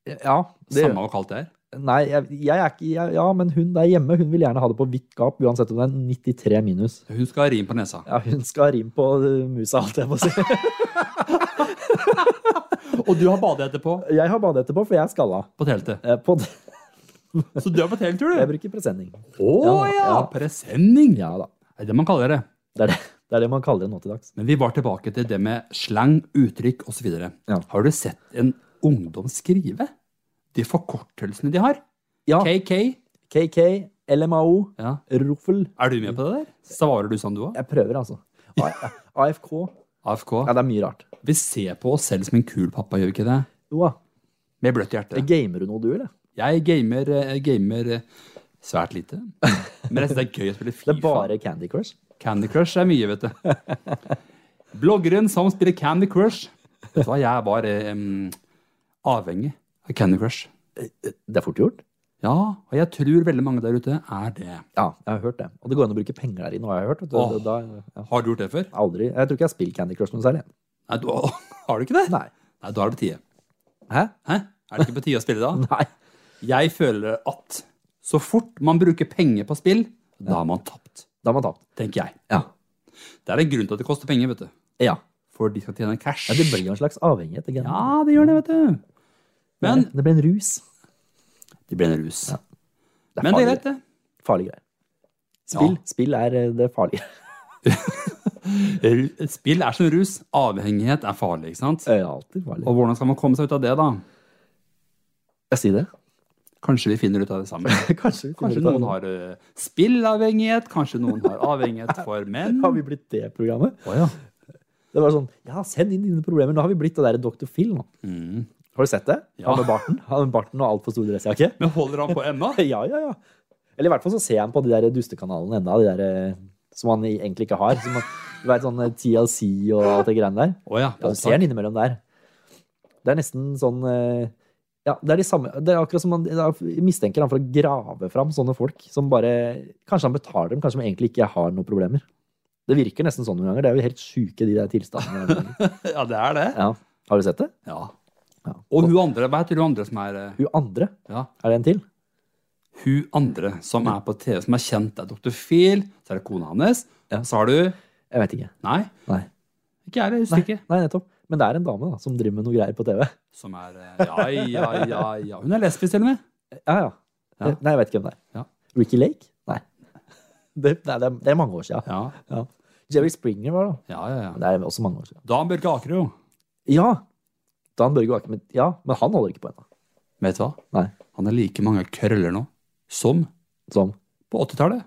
Speaker 1: ja det,
Speaker 2: Samme hvor kaldt det er.
Speaker 1: nei, jeg, jeg er ikke jeg, Ja, men hun der hjemme hun vil gjerne ha det på hvitt gap, uansett om det er 93 minus.
Speaker 2: Hun skal ha rim på nesa.
Speaker 1: Ja, hun skal ha rim på uh, musa, alt jeg må si.
Speaker 2: Og du har badehette på?
Speaker 1: Jeg har badehette på, for jeg er skalla.
Speaker 2: På teltet.
Speaker 1: Eh, På det.
Speaker 2: Så du er på telttur,
Speaker 1: Jeg
Speaker 2: du?
Speaker 1: bruker presenning.
Speaker 2: Å
Speaker 1: Ja,
Speaker 2: ja!
Speaker 1: ja.
Speaker 2: Presenning!
Speaker 1: Ja da.
Speaker 2: Det er det man kaller det.
Speaker 1: Det er det, det er det man kaller det nå til dags.
Speaker 2: Men vi var tilbake til det med slang, uttrykk osv.
Speaker 1: Ja.
Speaker 2: Har du sett en ungdom skrive? De forkortelsene de har.
Speaker 1: Ja.
Speaker 2: KK.
Speaker 1: KK, LMAO,
Speaker 2: Ja.
Speaker 1: Roffel.
Speaker 2: Er du med på det der? Svarer du sånn, du òg?
Speaker 1: Jeg prøver, altså. A- AFK.
Speaker 2: AFK.
Speaker 1: Ja, det er mye rart.
Speaker 2: Vi ser på oss selv som en kul pappa, gjør vi ikke det?
Speaker 1: Jo da.
Speaker 2: Med bløtt hjerte.
Speaker 1: Gamer du noe, du, eller?
Speaker 2: Jeg gamer, eh, gamer eh, svært lite. Men jeg synes det er gøy å spille
Speaker 1: Det
Speaker 2: Fifa.
Speaker 1: er bare Candy Crush.
Speaker 2: Candy Crush er mye, vet du. Bloggeren som spiller Candy Crush. Vet du hva, jeg var eh, em, avhengig av Candy Crush.
Speaker 1: Det er fort gjort.
Speaker 2: Ja, og jeg tror veldig mange der ute er det.
Speaker 1: Ja, jeg har hørt det. Og det går an å bruke penger der inne, har jeg hørt. Vet du.
Speaker 2: Åh.
Speaker 1: Da, ja.
Speaker 2: Har du gjort det før?
Speaker 1: Aldri. Jeg tror ikke jeg har spilt Candy Crush noe særlig.
Speaker 2: Nei, du, har du ikke det?
Speaker 1: Nei.
Speaker 2: Nei, da er det på tide.
Speaker 1: Hæ?
Speaker 2: Hæ? Er det ikke på tide å spille da?
Speaker 1: Nei.
Speaker 2: Jeg føler at så fort man bruker penger på spill, da har man tapt,
Speaker 1: Da har man tapt.
Speaker 2: tenker jeg.
Speaker 1: Ja.
Speaker 2: Det er en grunn til at det koster penger, vet du.
Speaker 1: Ja.
Speaker 2: For de skal tjene cash.
Speaker 1: ja det blir jo en slags avhengighet. Ikke? sant?
Speaker 2: Ja, det gjør det, vet du. Men
Speaker 1: det blir en rus.
Speaker 2: det blir en rus.
Speaker 1: Det er
Speaker 2: Men det er
Speaker 1: farlig,
Speaker 2: greit, det.
Speaker 1: farlig greier. Spill,
Speaker 2: Ja.
Speaker 1: spill er eh, det farlige.
Speaker 2: Ru- Spill er som rus. Avhengighet er farlig, ikke sant?
Speaker 1: Eh, Alltid farlig.
Speaker 2: Og hvordan skal man komme seg ut av det, da?
Speaker 1: Jeg sier det.
Speaker 2: Kanskje vi finner ut av det sammen.
Speaker 1: Kanskje, vi finner
Speaker 2: Kanskje
Speaker 1: ut av det.
Speaker 2: noen har eh, spillavhengighet, kanskje noen har avhengighet for menn.
Speaker 1: Har vi blitt det programmet?
Speaker 2: Å ja.
Speaker 1: Det var sånn, ja, send inn dine problemer. Nå har vi blitt det der Dr. Phil nå.
Speaker 2: Mm.
Speaker 1: Har du sett det?
Speaker 2: Ja.
Speaker 1: Han med barten. Han med barten og altfor stor dressjakke.
Speaker 2: Men holder han på ennå?
Speaker 1: Ja, ja, ja. Eller i hvert fall så ser han på de der dustekanalene enda, de der eh, som han egentlig ikke har. Som han, du vet, sånn eh, TLC og alt det greiene der.
Speaker 2: Å ja.
Speaker 1: Ja, du ser den innimellom der. Det er nesten sånn eh, Ja, det er de samme Det er akkurat som man da mistenker han for å grave fram sånne folk som bare Kanskje han betaler dem, kanskje de egentlig ikke har noen problemer. Det virker nesten sånn noen ganger. Det er jo helt sjuke, de der tilstandene.
Speaker 2: Ja, det er det.
Speaker 1: Ja. Har du sett det?
Speaker 2: Ja.
Speaker 1: Ja.
Speaker 2: Og hun andre, hva heter hun andre som er eh,
Speaker 1: Hun andre,
Speaker 2: Ja,
Speaker 1: er det en til?
Speaker 2: hun andre som er på TV, som er kjent, det er Dr. Phil, så er det kona hans,
Speaker 1: Ja.
Speaker 2: så har du
Speaker 1: Jeg vet ikke.
Speaker 2: Nei,
Speaker 1: Nei.
Speaker 2: ikke jeg, det husker
Speaker 1: Nei,
Speaker 2: ikke.
Speaker 1: nei nettopp. Men det er en dame da, som driver med noe greier på TV.
Speaker 2: Som er eh, Ja, ja, ja, ja. Hun er lesbisk, til og med.
Speaker 1: Ja, ja.
Speaker 2: Ja.
Speaker 1: Nei, jeg vet ikke hvem det er.
Speaker 2: Ja.
Speaker 1: Ricky Lake? Nei. Det, nei, det, er, det er mange år siden.
Speaker 2: Ja,
Speaker 1: Ja. Jerry Springer var det. da.
Speaker 2: ja, ja. ja.
Speaker 1: Det er også mange år siden.
Speaker 2: Dan Børge Akerø.
Speaker 1: Ja. Dan Børge Aker, men, ja, men han holder ikke på ennå.
Speaker 2: Vet du hva?
Speaker 1: Nei.
Speaker 2: Han har like mange krøller nå som
Speaker 1: Som
Speaker 2: på 80-tallet.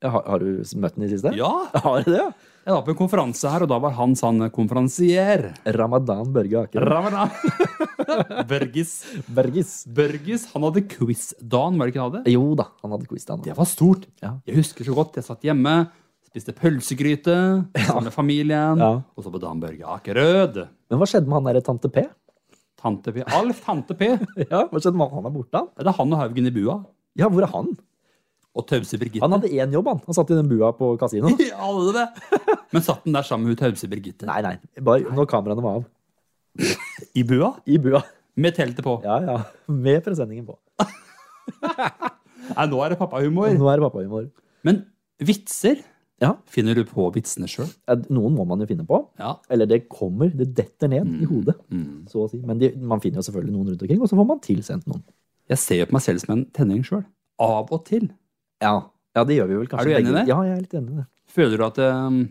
Speaker 1: ja, har, har du møtt den i siste?
Speaker 2: Ja!
Speaker 1: Har du det, ja?
Speaker 2: Jeg var på en konferanse her, og da var han sånn konferansier.
Speaker 1: Ramadan Børge Aker.
Speaker 2: Ravana. Børgis.
Speaker 1: Bergis.
Speaker 2: Børgis, han hadde quiz-dagen, var det ikke han hadde?
Speaker 1: Jo da, han hadde quiz til han.
Speaker 2: Det var stort.
Speaker 1: Ja.
Speaker 2: Jeg husker så godt. Jeg satt hjemme, spiste pølsegryte sammen med familien.
Speaker 1: Ja.
Speaker 2: Og så på Dan Børge Akerød.
Speaker 1: Men hva skjedde med han derre tante P?
Speaker 2: Tante P. Alf Tante P. Er
Speaker 1: Ja, Hva skjedde med han? Han er borte, han.
Speaker 2: det han og Haugen i bua?
Speaker 1: Ja, hvor er han?
Speaker 2: Og Tause Birgitte.
Speaker 1: Han hadde én jobb, han. Han satt i den bua på kasinoen.
Speaker 2: Ja, hadde det. Men satt den der sammen med hun Tause Birgitte?
Speaker 1: Nei, nei. Bare når kameraene var av.
Speaker 2: I bua?
Speaker 1: I bua.
Speaker 2: Med teltet på.
Speaker 1: Ja, ja. Med presenningen på.
Speaker 2: Nei, nå er det pappahumor.
Speaker 1: Nå er det pappahumor.
Speaker 2: Men vitser
Speaker 1: Ja.
Speaker 2: Finner du på vitsene sjøl?
Speaker 1: Eh, Noen må man jo finne på.
Speaker 2: Ja.
Speaker 1: Eller det kommer, det detter ned
Speaker 2: Mm,
Speaker 1: i hodet. Så å si. Men de, man finner jo selvfølgelig noen rundt omkring, og så får man tilsendt noen.
Speaker 2: Jeg ser jo på meg selv som en tenning sjøl. Av og til.
Speaker 1: Ja, ja det gjør vi vel kanskje.
Speaker 2: Er du enig i
Speaker 1: begge.
Speaker 2: det?
Speaker 1: Ja, jeg er litt enig i det.
Speaker 2: Føler du at eh,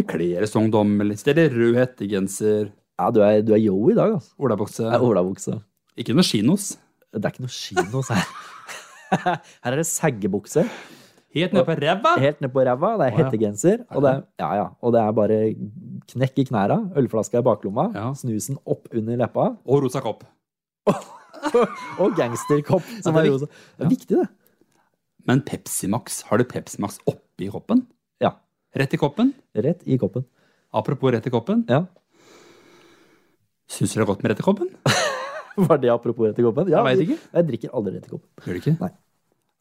Speaker 2: vi kler oss ungdommelig? litt? Stiller rød hettegenser,
Speaker 1: Ja, du er, du er yo i dag, altså.
Speaker 2: olabukse
Speaker 1: Jeg er olabukse.
Speaker 2: Ikke noe kinos.
Speaker 1: Det er ikke noe skinos her. Her er det saggebukse,
Speaker 2: Helt ned på ræva.
Speaker 1: helt ned på ræva, det er
Speaker 2: ja.
Speaker 1: hettegenser, og det er, ja, ja, og det er bare knekk i knæra, ølflaska i baklomma,
Speaker 2: Ja.
Speaker 1: snusen opp under leppa,
Speaker 2: Og rosa kopp.
Speaker 1: og gangsterkopp som
Speaker 2: Ja,
Speaker 1: er
Speaker 2: det er
Speaker 1: rosa. Det er viktig, det.
Speaker 2: Men Pepsi Max, har du Pepsi Max oppi koppen?
Speaker 1: Ja.
Speaker 2: Rett i koppen?
Speaker 1: Rett i koppen.
Speaker 2: Apropos rett i koppen.
Speaker 1: Ja.
Speaker 2: Syns du det er godt med rett i koppen?
Speaker 1: Var det apropos rett i koppen? Ja,
Speaker 2: Jeg vet ikke.
Speaker 1: Jeg drikker aldri rett i koppen.
Speaker 2: Gjør du ikke?
Speaker 1: Nei.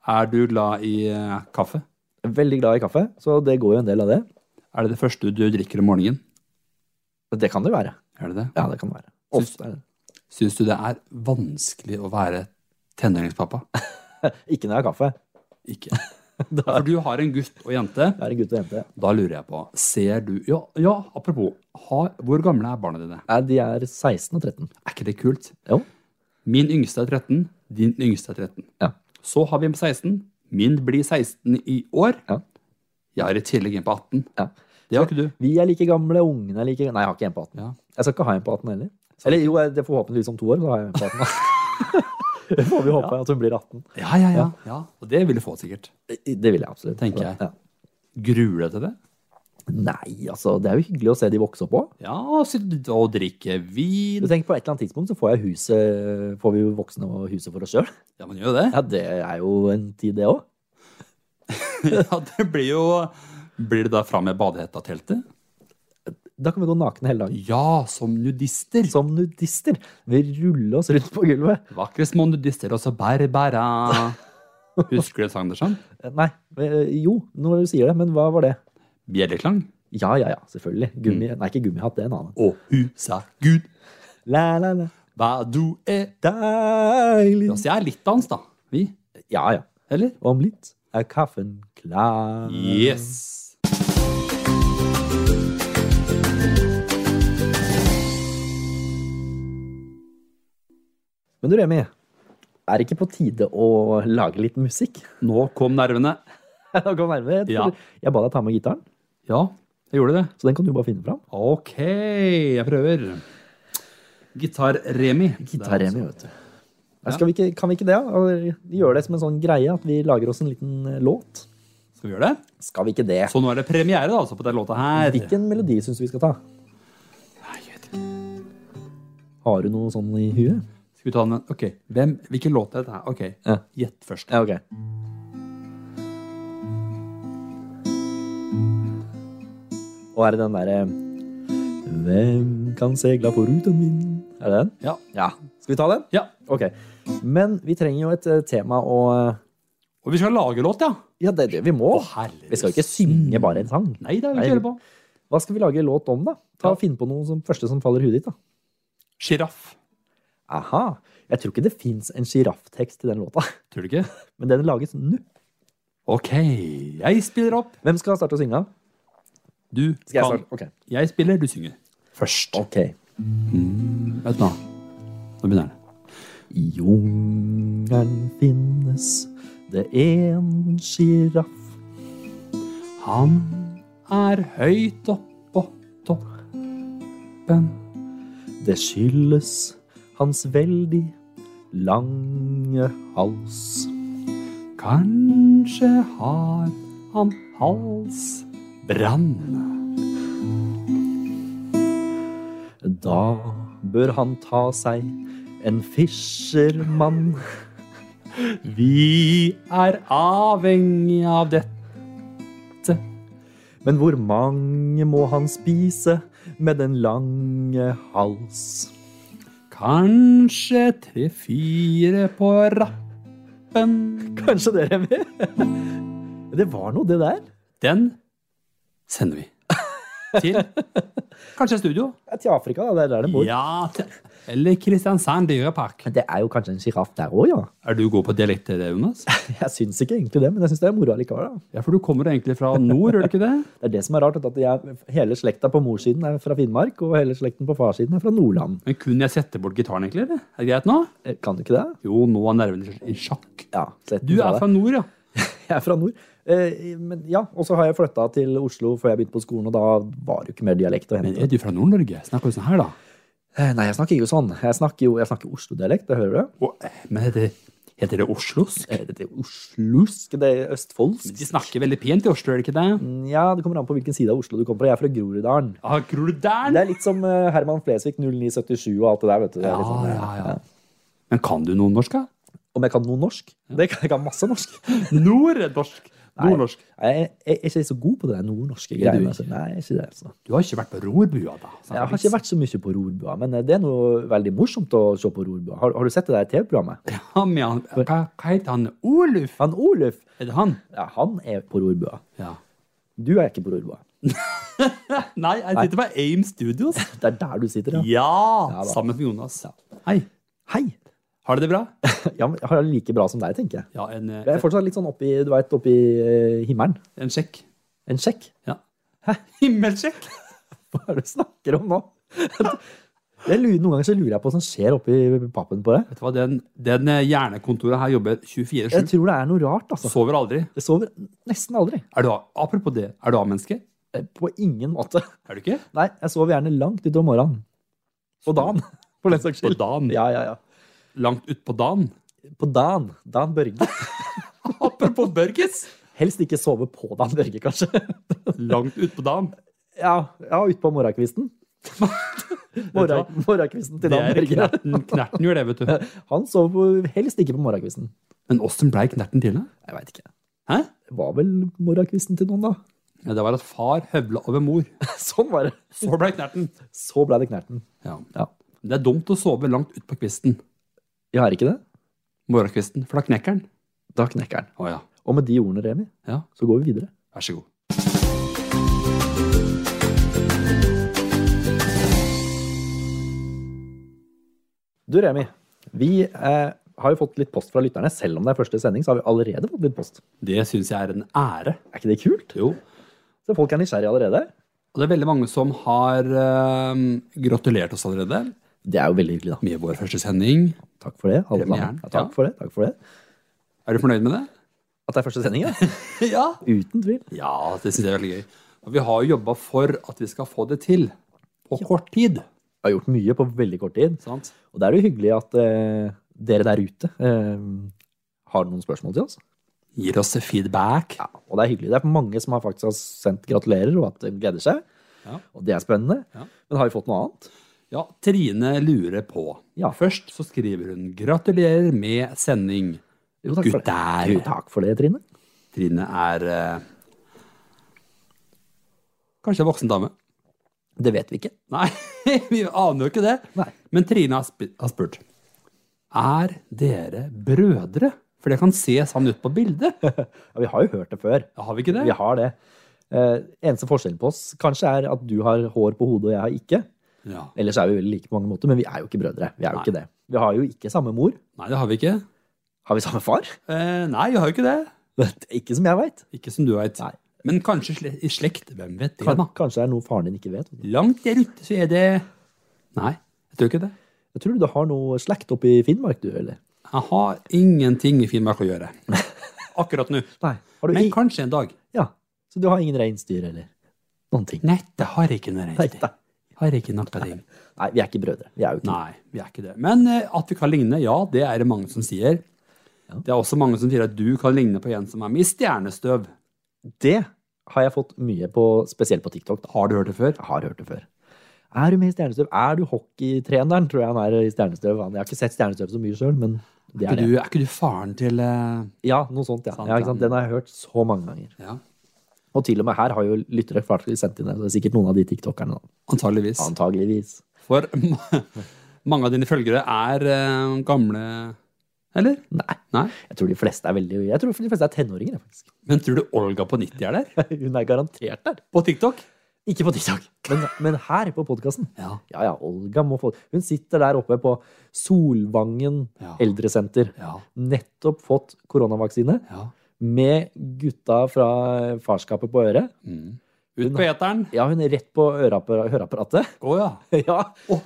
Speaker 2: Er du glad i eh, kaffe?
Speaker 1: Veldig glad i kaffe, så det går jo en del av det.
Speaker 2: Er det det første du drikker om morgenen?
Speaker 1: Det kan det være.
Speaker 2: Er det det?
Speaker 1: Ja, det kan det være.
Speaker 2: Syns-
Speaker 1: Ofte er det.
Speaker 2: Syns du det er vanskelig å være tenåringspappa?
Speaker 1: Ikke når jeg har kaffe.
Speaker 2: Ikke. For du har en gutt og jente.
Speaker 1: Jeg er en gutt og jente.
Speaker 2: Da lurer jeg på, ser du Ja, ja apropos, har, hvor gamle er barna dine?
Speaker 1: Nei, de er 16 og 13.
Speaker 2: Er ikke det kult?
Speaker 1: Jo.
Speaker 2: Min yngste er 13, din yngste er 13.
Speaker 1: Ja.
Speaker 2: Så har vi en på 16. Min blir 16 i år.
Speaker 1: Ja.
Speaker 2: Jeg har i tillegg en på 18.
Speaker 1: Ja.
Speaker 2: Det har ikke du.
Speaker 1: Vi er like gamle, ungene er like Nei, jeg har ikke en på 18.
Speaker 2: Ja.
Speaker 1: Jeg skal ikke ha en på 18 heller. Eller jo, jeg- det er forhåpentligvis om to år, så har jeg en på 18. det får vi håpe, at hun blir 18.
Speaker 2: Ja, ja, ja. ja. Og det vil du få, sikkert.
Speaker 1: Det vil jeg absolutt.
Speaker 2: Tenker jeg.
Speaker 1: Ja.
Speaker 2: Gruer du deg til det?
Speaker 1: Nei, altså, det er jo hyggelig å se de vokse opp òg.
Speaker 2: Ja, sitte og drikke
Speaker 1: Du
Speaker 2: vin.
Speaker 1: tenker på et eller annet tidspunkt så får jeg huset Får vi jo voksne og huset for oss sjøl.
Speaker 2: Ja, man gjør jo det.
Speaker 1: Ja, det er jo en tid, det òg.
Speaker 2: Ja, det blir jo Blir det da fram med badehetta og teltet?
Speaker 1: Da kan vi gå nakne hele dagen.
Speaker 2: Ja, som nudister.
Speaker 1: Som nudister. Vi ruller oss rundt på gulvet.
Speaker 2: Vakre små nudister, også berbera. Husker du det, Sandersen?
Speaker 1: Nei, men, jo, når du sier det, men hva var det?
Speaker 2: Bjelleklang.
Speaker 1: Ja, ja, ja, selvfølgelig. Gummi, Nei, ikke gummihatt, det er en annen.
Speaker 2: Og husa Gud,
Speaker 1: La, la, la.
Speaker 2: hva du er.
Speaker 1: Deilig.
Speaker 2: Altså, jeg er litt dans, da. Vi.
Speaker 1: Ja, ja.
Speaker 2: Eller?
Speaker 1: Om litt er kaffen klar.
Speaker 2: Yes.
Speaker 1: Men du, Remi, er det ikke på tide å lage litt musikk?
Speaker 2: Nå kom nervene.
Speaker 1: Nå kom jeg nærmere. Jeg
Speaker 2: Ja.
Speaker 1: tror- Jeg ba deg ta med gitaren,
Speaker 2: Ja, jeg gjorde det.
Speaker 1: så den kan du bare finne fram.
Speaker 2: Ok, jeg prøver. Gitar-Remi.
Speaker 1: Gitar-Remi, vet du. Nei, Skal vi ikke, kan vi ikke det? da? Eller Gjøre det som en sånn greie at vi lager oss en liten eh, låt?
Speaker 2: Skal vi gjøre det?
Speaker 1: Skal vi ikke det?
Speaker 2: Så nå er det premiere da, altså, på den låta her.
Speaker 1: Hvilken melodi syns du vi skal ta?
Speaker 2: Nei, jeg vet ikke.
Speaker 1: Har du noe sånn i huet?
Speaker 2: Skal vi ta den? Ok, Hvem, hvilken låt er dette her? Ok,
Speaker 1: Ja.
Speaker 2: gjett først.
Speaker 1: Ja, ok. Og er det den derre Hvem kan segla foruten vind? Er det den?
Speaker 2: Ja.
Speaker 1: Ja. Skal vi ta den?
Speaker 2: ja.
Speaker 1: Ok. Men vi trenger jo et eh, tema å
Speaker 2: Og vi skal lage låt, ja.
Speaker 1: Ja, det er det vi må.
Speaker 2: herre.
Speaker 1: Vi skal jo ikke synge bare en sang.
Speaker 2: Nei, det er vi
Speaker 1: Nei.
Speaker 2: kjører på.
Speaker 1: Hva skal vi lage låt om, da? Ta
Speaker 2: Ja.
Speaker 1: og Finn på noe som første som faller i huet ditt, da.
Speaker 2: Sjiraff.
Speaker 1: Aha. Jeg tror ikke det fins en sjirafftekst til den låta,
Speaker 2: Tror du ikke?
Speaker 1: men den lages nå.
Speaker 2: Ok, jeg spiller opp.
Speaker 1: Hvem skal starte å synge?
Speaker 2: Du
Speaker 1: Skal jeg
Speaker 2: kan-
Speaker 1: starte? Ok.
Speaker 2: Jeg spiller, du synger. Først.
Speaker 1: Ok.
Speaker 2: Vet du hva? Nå begynner den.
Speaker 1: I jungelen finnes det en sjiraff.
Speaker 2: Han er høyt oppå toppen.
Speaker 1: Det skyldes hans veldig lange hals.
Speaker 2: Kanskje har han halsbrann.
Speaker 1: Da bør han ta seg en fishermann.
Speaker 2: Vi er avhengig av dette.
Speaker 1: Men hvor mange må han spise med den lange hals?
Speaker 2: Kanskje tre-fire på rappen.
Speaker 1: Kanskje dere er med? Det var noe, det der.
Speaker 2: Den sender vi. til kanskje studio.
Speaker 1: Ja, til Afrika, da. Det er der de bor.
Speaker 2: Ja, til, eller Kristiansand dyrepark.
Speaker 1: Men det er jo kanskje en sjiraff der òg, ja.
Speaker 2: Er du god på dialekt til det, Jonas?
Speaker 1: Jeg syns ikke egentlig det, men jeg syns det er moro allikevel. da.
Speaker 2: Ja, for du kommer egentlig fra nord, gjør du ikke det?
Speaker 1: Det er det som er rart, at jeg, hele slekta på morssiden er fra Finnmark, og hele slekten på farssiden er fra Nordland.
Speaker 2: Men kunne jeg sette bort gitaren, egentlig? eller? Er det greit nå?
Speaker 1: Eh, Kan du ikke det?
Speaker 2: Jo, nå er nervene i sjakk.
Speaker 1: Ja, slett
Speaker 2: Du er fra nord, ja.
Speaker 1: Jeg er fra nord. Eh, Men ja, og så har jeg flytta til Oslo før jeg begynte på skolen, og da var det jo ikke mer dialekt å
Speaker 2: Men
Speaker 1: hente.
Speaker 2: er du fra Nord-Norge? Snakker du sånn her, da?
Speaker 1: Eh, Nei, jeg snakker ikke sånn. Jeg snakker jo jeg snakker Oslo-dialekt, det hører du?
Speaker 2: Og, eh, men heter, heter det oslosk?
Speaker 1: Eh, Dette er oslusk, det er østfoldsk.
Speaker 2: De snakker veldig pent i Oslo, er det ikke det?
Speaker 1: Ja, det kommer an på hvilken side av Oslo du kommer fra. Jeg er fra Groruddalen.
Speaker 2: Ah, tror du der?
Speaker 1: Det er litt som eh, Herman Flesvig 0977 og alt det der, vet du. Det er
Speaker 2: Ja,
Speaker 1: litt sånn,
Speaker 2: ja, Ah, ja. Men kan du noe norsk, da?
Speaker 1: Om jeg kan noe norsk? Det kan, jeg kan masse norsk.
Speaker 2: Nordnorsk. Nordnorsk.
Speaker 1: Nei, jeg, jeg er ikke så god på det der nordnorske
Speaker 2: Er du
Speaker 1: greiene.
Speaker 2: ikke?
Speaker 1: altså. Nei, jeg er ikke det. Altså.
Speaker 2: Du har ikke vært på rorbua, da?
Speaker 1: Jeg har ikke vært så mye på rorbua, men eh, det er noe veldig morsomt å se på rorbua. Har, har du sett det der TV-programmet?
Speaker 2: Ja, men han, hva, hva heter han? Oluf?
Speaker 1: Han Oluf,
Speaker 2: Er det han?
Speaker 1: ja, han er på rorbua.
Speaker 2: Ja.
Speaker 1: Du er ikke på rorbua.
Speaker 2: Nei, jeg sitter på AIM Studios.
Speaker 1: Det er der du sitter,
Speaker 2: Ja!
Speaker 1: ja. da.
Speaker 2: sammen med Jonas. Hei.
Speaker 1: Hei!
Speaker 2: Har du det bra?
Speaker 1: Ja, men Jeg har det like bra som deg, tenker jeg.
Speaker 2: Ja, en, eh,
Speaker 1: Jeg er fortsatt litt sånn oppi, du vet, oppi eh, himmelen.
Speaker 2: en sjekk.
Speaker 1: En sjekk.
Speaker 2: Ja. Himmelsjekk?
Speaker 1: Hva er det du snakker om nå? Jeg lurer, noen ganger så lurer jeg på hva som skjer oppi pappen på det.
Speaker 2: Vet du hva, den, den eh, hjernekontoret her jobber
Speaker 1: Jeg
Speaker 2: 24-7.
Speaker 1: tror det er noe rart, altså.
Speaker 2: Sover aldri.
Speaker 1: Jeg sover nesten aldri.
Speaker 2: Er du, A- apropos det, er du A-menneske?
Speaker 1: Eh, På ingen måte.
Speaker 2: Er du ikke?
Speaker 1: Nei, jeg sover gjerne langt utover morgenen. På dagen.
Speaker 2: På den saks skyld. På dagen.
Speaker 1: Ja, ja, ja.
Speaker 2: Langt utpå dagen.
Speaker 1: På dagen. Dan Børge.
Speaker 2: Apropos Børges.
Speaker 1: Helst ikke sove på Dan Børge, kanskje.
Speaker 2: Langt utpå dagen.
Speaker 1: Ja, ja utpå morgenkvisten. Morgen, morgenkvisten til
Speaker 2: Det
Speaker 1: Dan
Speaker 2: er
Speaker 1: Børge.
Speaker 2: knerten, knerten gjør det, vet du.
Speaker 1: Han sover på- helst ikke på morgenkvisten.
Speaker 2: Men åssen blei knerten til, da?
Speaker 1: Jeg veit ikke.
Speaker 2: Hæ?
Speaker 1: Var vel morgenkvisten til noen, da?
Speaker 2: Ja, det var at far høvla over mor.
Speaker 1: Sånn var det.
Speaker 2: Så blei knerten.
Speaker 1: Så ble det knerten.
Speaker 2: Ja.
Speaker 1: Ja.
Speaker 2: Det er dumt å sove langt utpå kvisten.
Speaker 1: Jeg har ikke det.
Speaker 2: Morgenkvisten. For da knekker den.
Speaker 1: Da knekker den.
Speaker 2: Å ja.
Speaker 1: Og med de ordene, Remi,
Speaker 2: Ja,
Speaker 1: så går vi videre.
Speaker 2: vær så god.
Speaker 1: Du, Remi, vi eh, har jo fått litt post fra lytterne. Selv om det er første sending, så har vi allerede fått litt post.
Speaker 2: Det syns jeg er en ære.
Speaker 1: Er ikke det kult?
Speaker 2: Jo.
Speaker 1: Så folk er nysgjerrige allerede.
Speaker 2: Og det er veldig mange som har eh, gratulert oss allerede
Speaker 1: Det er jo veldig hyggelig, da.
Speaker 2: med vår første sending.
Speaker 1: Takk for det. alle sammen.
Speaker 2: Premieren,
Speaker 1: Ja, takk
Speaker 2: ja.
Speaker 1: for det. takk for det.
Speaker 2: Er du fornøyd med det?
Speaker 1: At det er første sending, ja.
Speaker 2: Ja.
Speaker 1: Uten tvil.
Speaker 2: Ja, det syns jeg er veldig gøy. Og vi har jo jobba for at vi skal få det til. På kort tid.
Speaker 1: Jeg har gjort mye på veldig kort tid.
Speaker 2: Sant?
Speaker 1: Og da er det jo hyggelig at eh, dere der ute eh, har noen spørsmål til oss.
Speaker 2: Gir oss feedback.
Speaker 1: Ja, og det er hyggelig. Det er mange som har faktisk har sendt gratulerer, og at de gleder seg.
Speaker 2: Ja.
Speaker 1: Og det er spennende.
Speaker 2: Ja.
Speaker 1: Men har vi fått noe annet?
Speaker 2: Ja, Trine lurer på.
Speaker 1: Ja.
Speaker 2: Først så skriver hun 'Gratulerer med sending'.
Speaker 1: Jo, for det.
Speaker 2: Gutter!
Speaker 1: Jo, takk for det, Trine.
Speaker 2: Trine er eh, Kanskje en voksen dame.
Speaker 1: Det vet vi ikke.
Speaker 2: Nei, vi aner jo ikke det.
Speaker 1: Nei.
Speaker 2: Men Trine har, sp har spurt Er dere brødre? For det kan se sånn ut på bildet.
Speaker 1: Ja, vi har jo hørt det før.
Speaker 2: Ja, Har vi ikke det?
Speaker 1: Vi har det. Eh, eneste forskjellen på oss kanskje er at du har hår på hodet, og jeg har ikke.
Speaker 2: Ja.
Speaker 1: Ellers er vi veldig like på mange måter, men vi er jo ikke brødre. Vi er jo ikke det. Vi har jo ikke samme mor.
Speaker 2: Nei, det har vi ikke.
Speaker 1: Har vi samme far?
Speaker 2: Eh, nei, vi har jo ikke det.
Speaker 1: Ikke som jeg veit.
Speaker 2: Ikke som du veit.
Speaker 1: Nei.
Speaker 2: Men kanskje sle i slekt. Hvem vet det, da?
Speaker 1: Kanskje det er noe faren din ikke vet.
Speaker 2: Langt der ute så er det Nei, jeg tror ikke det.
Speaker 1: Jeg tror du har noe slekt oppe i Finnmark, du, eller?
Speaker 2: Jeg har ingenting i Finnmark å gjøre. Akkurat nå.
Speaker 1: Nei. Har du
Speaker 2: Men
Speaker 1: i-
Speaker 2: kanskje en dag.
Speaker 1: Ja. Så du har ingen reinsdyr, eller? Noen ting.
Speaker 2: Nei, det har jeg ikke noe
Speaker 1: Nei,
Speaker 2: reist
Speaker 1: da.
Speaker 2: Har jeg ikke noe ting.
Speaker 1: Nei, vi er ikke brødre. Vi er jo ikke
Speaker 2: Nei, vi er ikke det. Men eh, at vi kan ligne, ja, det er det mange som sier. Det er også mange som sier at du kan ligne på en som er med i stjernestøv.
Speaker 1: Det har jeg fått mye på, spesielt på TikTok. Da.
Speaker 2: Har du hørt det før?
Speaker 1: Jeg har hørt det før. Er du med i Stjernestøv? Er du hockeytreneren, tror jeg han er i Stjernestøv. Han- Jeg har ikke sett Stjernestøv så mye sjøl, men det er
Speaker 2: Er ikke,
Speaker 1: det.
Speaker 2: du, er ikke du faren til eh,
Speaker 1: Ja, noe sånt, ja.
Speaker 2: Sant,
Speaker 1: ja ikke sant?
Speaker 2: ja.
Speaker 1: Den har jeg hørt så mange ganger.
Speaker 2: Ja,
Speaker 1: Og til og med her har jo lyttere faktisk sendt inn det. så Det er sikkert noen av de tiktokerne, da.
Speaker 2: antageligvis.
Speaker 1: Antageligvis.
Speaker 2: For ma- mange av dine følgere er eh, gamle Eller?
Speaker 1: Nei.
Speaker 2: Nei.
Speaker 1: Jeg tror de fleste er veldig Jeg tror de fleste er tenåringer, jeg, faktisk.
Speaker 2: Men tror du Olga på 90 er der?
Speaker 1: Hun er garantert der.
Speaker 2: På TikTok?
Speaker 1: Ikke på TikTok, men, men her på podkasten.
Speaker 2: Ja.
Speaker 1: Ja, ja, Olga må få Hun sitter der oppe på Solvangen
Speaker 2: Ja.
Speaker 1: eldresenter.
Speaker 2: Ja.
Speaker 1: Nettopp fått koronavaksine
Speaker 2: ja.
Speaker 1: med gutta fra farskapet på øret.
Speaker 2: Mm. Ut på eteren.
Speaker 1: Ja, hun er rett på øreappara- høreapparatet.
Speaker 2: Å ja.
Speaker 1: ja.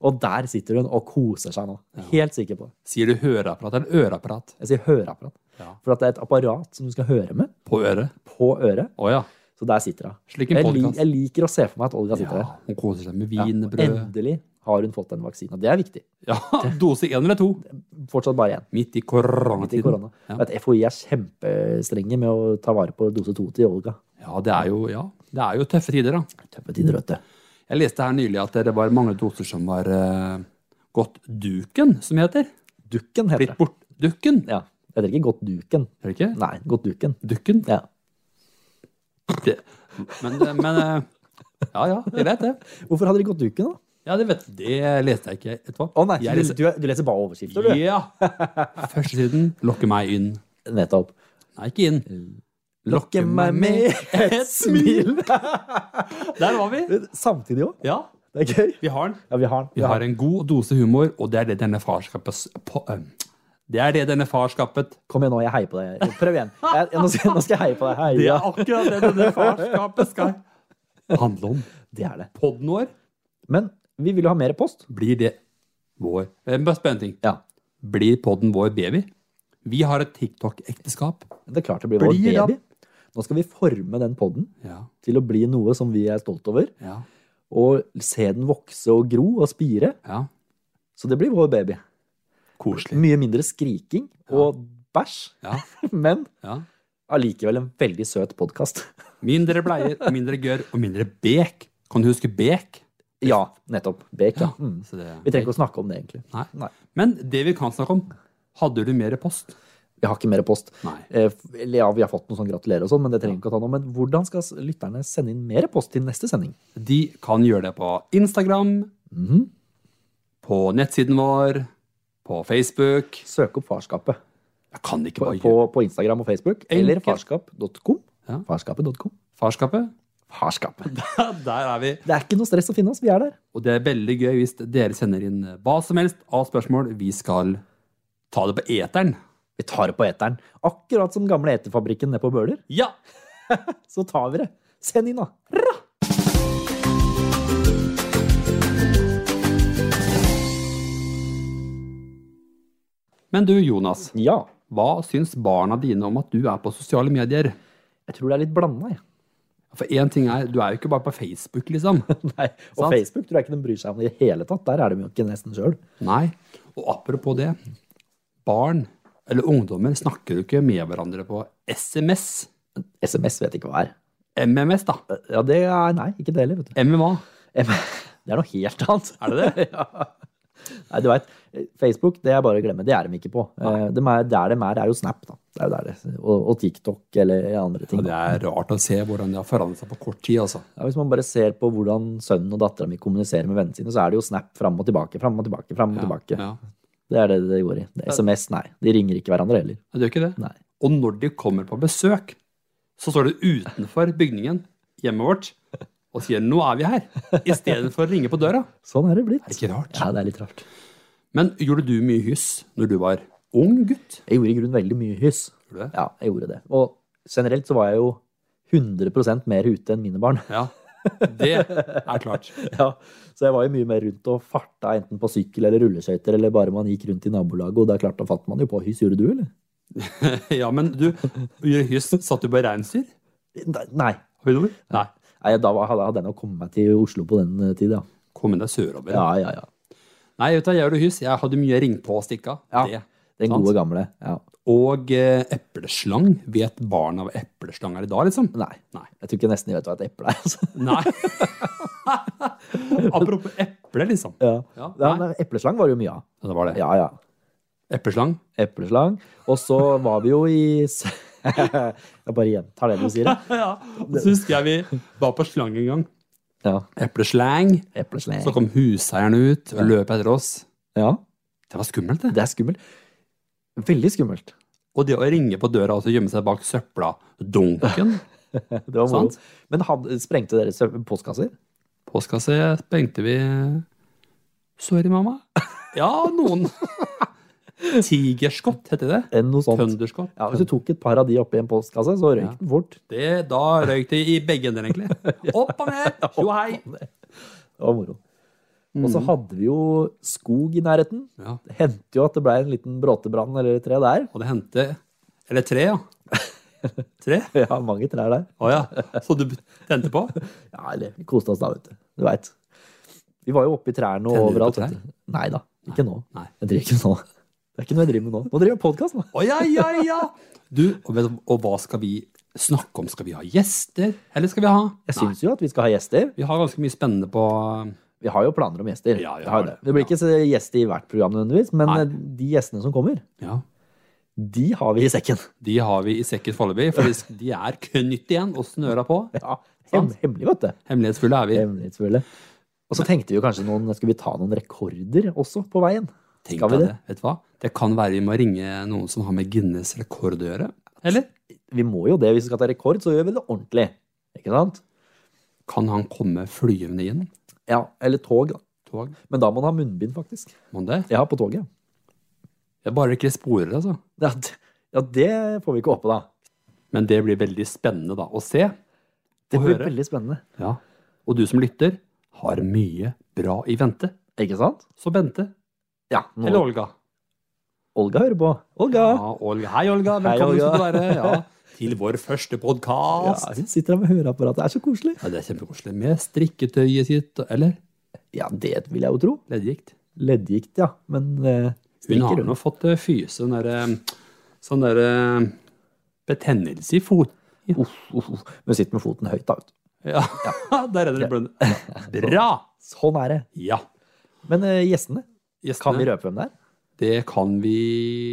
Speaker 1: Og der sitter hun og koser seg nå. Helt sikker på det.
Speaker 2: Sier du høreapparat eller øreapparat?
Speaker 1: Jeg sier høreapparat.
Speaker 2: Ja.
Speaker 1: For at det er et apparat som du skal høre med
Speaker 2: På øret.
Speaker 1: på øret.
Speaker 2: Å ja.
Speaker 1: Så der sitter hun.
Speaker 2: Slik en
Speaker 1: Jeg, lik-
Speaker 2: podkast.
Speaker 1: jeg liker å se for meg at Olga sitter
Speaker 2: Ja,
Speaker 1: der.
Speaker 2: hun koser seg med
Speaker 1: Ja, og
Speaker 2: wienerbrød.
Speaker 1: endelig har hun fått den vaksina. Det er viktig.
Speaker 2: Ja, dose én eller to.
Speaker 1: Fortsatt bare én.
Speaker 2: Midt
Speaker 1: Midt
Speaker 2: i
Speaker 1: i
Speaker 2: koronatiden.
Speaker 1: korona. Vet, FHI er kjempestrenge med å ta vare på dose to til Olga.
Speaker 2: Ja, det er jo, ja, det er jo tøffe tider, da.
Speaker 1: Tøffe tider, vet du.
Speaker 2: Jeg leste her nylig at det var mange doser som var eh, gått duken, som det heter.
Speaker 1: Dukken heter
Speaker 2: Blitt
Speaker 1: det.
Speaker 2: bort dukken.
Speaker 1: Ja. Det heter ikke Godt duken.
Speaker 2: Er det ikke?
Speaker 1: Nei, Godt duken.
Speaker 2: Dukken.
Speaker 1: Ja.
Speaker 2: Det. Men, men eh, Ja, ja, jeg vet det.
Speaker 1: Hvorfor hadde de Godt duken, da?
Speaker 2: Ja, det, vet, det leste jeg ikke. Vet du hva?
Speaker 1: Å nei,
Speaker 2: jeg
Speaker 1: du, du, du leser bare overskrifter, du.
Speaker 2: Ja! Førstesiden. Lokke meg inn.
Speaker 1: Nettopp.
Speaker 2: Nei, ikke inn. Lokke meg med et smil. Der var vi.
Speaker 1: Samtidig òg.
Speaker 2: Ja,
Speaker 1: Det er gøy.
Speaker 2: vi har den.
Speaker 1: Ja, vi har den.
Speaker 2: Vi har en god dose humor, og det er det denne farskapet på, øhm, Det er det denne farskapet
Speaker 1: Kom igjen nå, jeg heier på deg. Prøv igjen. Jeg, jeg, nå, skal, nå skal jeg heie på deg.
Speaker 2: Det
Speaker 1: Heia.
Speaker 2: er akkurat det denne farskapet skal handle om.
Speaker 1: Det er det.
Speaker 2: Podden vår
Speaker 1: Men vi vil jo ha mer post.
Speaker 2: blir det vår Eh, Bare spør en ting.
Speaker 1: Ja.
Speaker 2: Blir podden vår baby? Vi har et TikTok-ekteskap.
Speaker 1: Det er klart det blir vår
Speaker 2: Blir da-
Speaker 1: baby. Nå skal vi forme den podden
Speaker 2: Ja,
Speaker 1: til å bli noe som vi er stolt over.
Speaker 2: ja,
Speaker 1: Og se den vokse og gro og spire.
Speaker 2: ja.
Speaker 1: Så det blir vår baby.
Speaker 2: Koselig.
Speaker 1: Mye mindre skriking og bæsj,
Speaker 2: Ja,
Speaker 1: men
Speaker 2: ja.
Speaker 1: allikevel en veldig søt podkast.
Speaker 2: Mindre bleier, og mindre gørr og mindre bek. Kan du huske bek?
Speaker 1: Ja, nettopp. Bek, ja.
Speaker 2: Ja,
Speaker 1: Mm.
Speaker 2: så det-
Speaker 1: Vi trenger ikke å snakke om det, egentlig.
Speaker 2: Nei.
Speaker 1: Nei.
Speaker 2: Men det vi kan snakke om Hadde du mer post?
Speaker 1: Vi har ikke mer post.
Speaker 2: Nei.
Speaker 1: Eh, f- Eller ja, vi har fått noe sånn gratulerer og sånn, men det trenger vi ikke å ta nå. Men hvordan skal s- lytterne sende inn mer post til neste sending? Mhm.
Speaker 2: De kan gjøre det på Instagram, på nettsiden vår, på Facebook
Speaker 1: Søk opp Farskapet
Speaker 2: Jeg kan ikke
Speaker 1: på,
Speaker 2: bare
Speaker 1: på,
Speaker 2: gjøre
Speaker 1: på Instagram og Facebook, eller
Speaker 2: Enkelt.
Speaker 1: farskap.com.
Speaker 2: Ja.
Speaker 1: Farskapet.com.
Speaker 2: farskapet.
Speaker 1: Farskapet.
Speaker 2: Der er vi.
Speaker 1: Det er ikke noe stress å finne oss, vi er der.
Speaker 2: Og det er veldig gøy hvis dere sender inn hva som helst av spørsmål. Vi skal ta det på eteren.
Speaker 1: Vi tar det på eteren. Akkurat som gamle eterfabrikken nede på Bøler,
Speaker 2: Ja!
Speaker 1: så tar vi det. Send inn, da.
Speaker 2: Men du, Jonas.
Speaker 1: Ja.
Speaker 2: Hva syns barna dine om at du er på sosiale medier?
Speaker 1: Jeg tror det er litt blanda, jeg.
Speaker 2: For én ting er, du er jo ikke bare på Facebook, liksom.
Speaker 1: Nei. Og
Speaker 2: Sant.
Speaker 1: Facebook tror jeg ikke de bryr seg om det i hele tatt. Der er de jo ikke nesten sjøl.
Speaker 2: Nei. Og apropos det. Barn eller ungdommer snakker jo ikke med hverandre på SMS.
Speaker 1: SMS vet jeg ikke hva er.
Speaker 2: MMS, da.
Speaker 1: Eh, Ja, det er Nei, ikke det heller, vet du.
Speaker 2: MMA.
Speaker 1: Em- Det er noe helt annet.
Speaker 2: Er det det?
Speaker 1: Nei, du vet, eh, Facebook det er bare å glemme. Det er de ikke på. Eh, De er, der de er, er jo Snap. da. Det er jo der det, og, og TikTok eller andre ting.
Speaker 2: Og det er rart å se hvordan det har forandret seg på kort tid, altså.
Speaker 1: Ja, hvis man bare ser på hvordan sønnen og dattera mi kommuniserer med vennene sine, så er det jo Snap fram og tilbake, fram og tilbake, fram og tilbake.
Speaker 2: Ja.
Speaker 1: Det er det det går i. Det er SMS, nei. De ringer ikke hverandre heller.
Speaker 2: Det gjør ikke det.
Speaker 1: Nei.
Speaker 2: Og når de kommer på besøk, så står det utenfor bygningen hjemmet vårt og sier 'nå er vi her', istedenfor å ringe på døra.
Speaker 1: Sånn er det blitt.
Speaker 2: Er det ikke rart?
Speaker 1: Ja, det er litt rart.
Speaker 2: Men gjorde du mye hyss når du var ung gutt?
Speaker 1: Jeg gjorde i grunnen veldig mye hyss.
Speaker 2: Gjorde du det?
Speaker 1: Ja, jeg gjorde det. Og generelt så var jeg jo 100 mer ute enn mine barn.
Speaker 2: Ja. Det er klart.
Speaker 1: Ja, så jeg var jo mye mer rundt og farta, enten på sykkel eller rulleskøyter, eller bare man gikk rundt i nabolaget, og da klarte fatt man jo på hyss. Gjorde du, eller?
Speaker 2: Ja, men du, gjorde hyss satt du på reinsdyr?
Speaker 1: Nei.
Speaker 2: oppover? Nei.
Speaker 1: Nei, da var- hadde hadde jeg nok kommet meg til Oslo på den tida.
Speaker 2: Kom deg sørover.
Speaker 1: Ja, ja, ja.
Speaker 2: Nei, vet du, hva, jeg gjorde hyss. Jeg hadde mye ringpå og stikka.
Speaker 1: Ja.
Speaker 2: Det.
Speaker 1: Den
Speaker 2: Sant.
Speaker 1: gode gamle. Ja.
Speaker 2: Og eh, epleslang. Vet barna hva epleslang er i dag, liksom?
Speaker 1: Nei.
Speaker 2: Nei.
Speaker 1: Jeg tror ikke nesten de vet hva et eple er. Altså.
Speaker 2: Nei. Apropos eple, liksom.
Speaker 1: Ja.
Speaker 2: Ja,
Speaker 1: Ja,
Speaker 2: nei.
Speaker 1: nei, epleslang var det jo mye av.
Speaker 2: Ja, det var det.
Speaker 1: Ja, ja.
Speaker 2: Epleslang.
Speaker 1: Epleslang. Og så var vi jo i s- Jeg bare gjentar det du sier.
Speaker 2: Ja. Så husker jeg vi var på slang en gang.
Speaker 1: Ja.
Speaker 2: Epleslang.
Speaker 1: Epleslang.
Speaker 2: Så kom huseieren ut og løp etter oss.
Speaker 1: Ja.
Speaker 2: Det var skummelt, det.
Speaker 1: Det er skummelt. Veldig skummelt.
Speaker 2: Og det å ringe på døra og så gjemme seg bak søppeldunken
Speaker 1: Det var moro.
Speaker 2: Sant?
Speaker 1: Men hadde, sprengte dere sø- postkasser?
Speaker 2: Postkasse sprengte vi Sorry, mamma. Ja, noen Tigerskott heter det.
Speaker 1: Enn noe sånt?
Speaker 2: Tønderskott.
Speaker 1: Ja, Hvis du tok et par av de oppi en postkasse, så røyk
Speaker 2: Ja.
Speaker 1: den fort.
Speaker 2: Det, da røyk det i begge ender, egentlig. Opp og ned! Jo, hei!
Speaker 1: Det var moro. Og så hadde vi jo skog i nærheten.
Speaker 2: Ja,
Speaker 1: Det hendte jo at det ble en liten bråtebrann eller et tre der.
Speaker 2: og det hendte Eller tre, ja. Tre?
Speaker 1: Ja, mange trær der.
Speaker 2: Å ja. Så du tente på?
Speaker 1: Ja, eller vi koste oss da, vet du. Du veit. Vi var jo oppi trærne og
Speaker 2: Tenner du på
Speaker 1: overalt.
Speaker 2: trær?
Speaker 1: vet du. Nei da, ikke nå.
Speaker 2: Nei.
Speaker 1: Jeg driver ikke nå. Det er ikke noe jeg driver med nå. Nå driver jeg podkast, nå.
Speaker 2: Å ja, ja, ja! Du, og, vet, du- og hva skal vi snakke om? Skal vi ha gjester, eller skal vi ha
Speaker 1: Jeg
Speaker 2: Nei,
Speaker 1: syns jo at vi skal ha gjester.
Speaker 2: Vi har ganske mye spennende på
Speaker 1: Vi har jo planer om gjester.
Speaker 2: Ja, vi
Speaker 1: Vi har
Speaker 2: har
Speaker 1: jo det.
Speaker 2: det.
Speaker 1: det blir ikke så gjest i hvert program nødvendigvis, men
Speaker 2: Nei.
Speaker 1: eh, de gjestene som kommer,
Speaker 2: Ja.
Speaker 1: de har vi i sekken.
Speaker 2: De har vi i sekken foreløpig, for de- de er knytt igjen og snøra på.
Speaker 1: Ja, hem
Speaker 2: Sant.
Speaker 1: Hemmelig, vet du.
Speaker 2: Hemmelighetsfulle er vi.
Speaker 1: Hemmelighetsfulle. Og så tenkte vi jo kanskje noen, skal vi ta noen rekorder også på veien?
Speaker 2: Tenk
Speaker 1: Skal vi
Speaker 2: deg
Speaker 1: det?
Speaker 2: det. Vet du hva? Det kan være vi må ringe noen som har med Guinness rekord å gjøre. Eller?
Speaker 1: Vi må jo det. Hvis vi skal ta rekord, så gjør vi det ordentlig. Ikke sant?
Speaker 2: Kan han komme flyvende inn?
Speaker 1: Ja, Eller tog, da.
Speaker 2: Tog?
Speaker 1: Men da må man ha munnbind, faktisk.
Speaker 2: Må han det?
Speaker 1: Ja, på toget.
Speaker 2: Det er bare ikke sporer, altså.
Speaker 1: Ja, det, ja, det får vi ikke oppe, da.
Speaker 2: Men det blir veldig spennende da, å se.
Speaker 1: Det
Speaker 2: Å
Speaker 1: blir
Speaker 2: høre.
Speaker 1: veldig spennende.
Speaker 2: Ja. Og du som lytter, har mye bra i vente.
Speaker 1: Ikke sant?
Speaker 2: Så Bente.
Speaker 1: Ja. nå-
Speaker 2: Eller Olga.
Speaker 1: Olga hører på. Olga!
Speaker 2: Ja, Olga. Hei, Olga.
Speaker 1: Hei,
Speaker 2: Velkommen
Speaker 1: Olga.
Speaker 2: skal du være. Ja, til vår første
Speaker 1: Ja,
Speaker 2: podkast.
Speaker 1: hun sitter der med høreapparat. Det er så koselig.
Speaker 2: Ja, det er kjempekoselig. Med strikketøyet sitt, eller
Speaker 1: Ja, det vil jeg jo tro.
Speaker 2: leddgikt.
Speaker 1: Leddgikt, ja. Men eh,
Speaker 2: Hun
Speaker 1: strikker
Speaker 2: har
Speaker 1: hun.
Speaker 2: nå fått eh, fyse den derre sånn derre betennelse i fot...
Speaker 1: Uff, uff, uff. Men hun sitter med foten høyt, da. vet du.
Speaker 2: Ja, der er det blund. Bra!
Speaker 1: Sånn er det.
Speaker 2: Ja.
Speaker 1: Men eh, gjestene, kan vi
Speaker 2: Gjestene,
Speaker 1: røpe hvem det er?
Speaker 2: det kan vi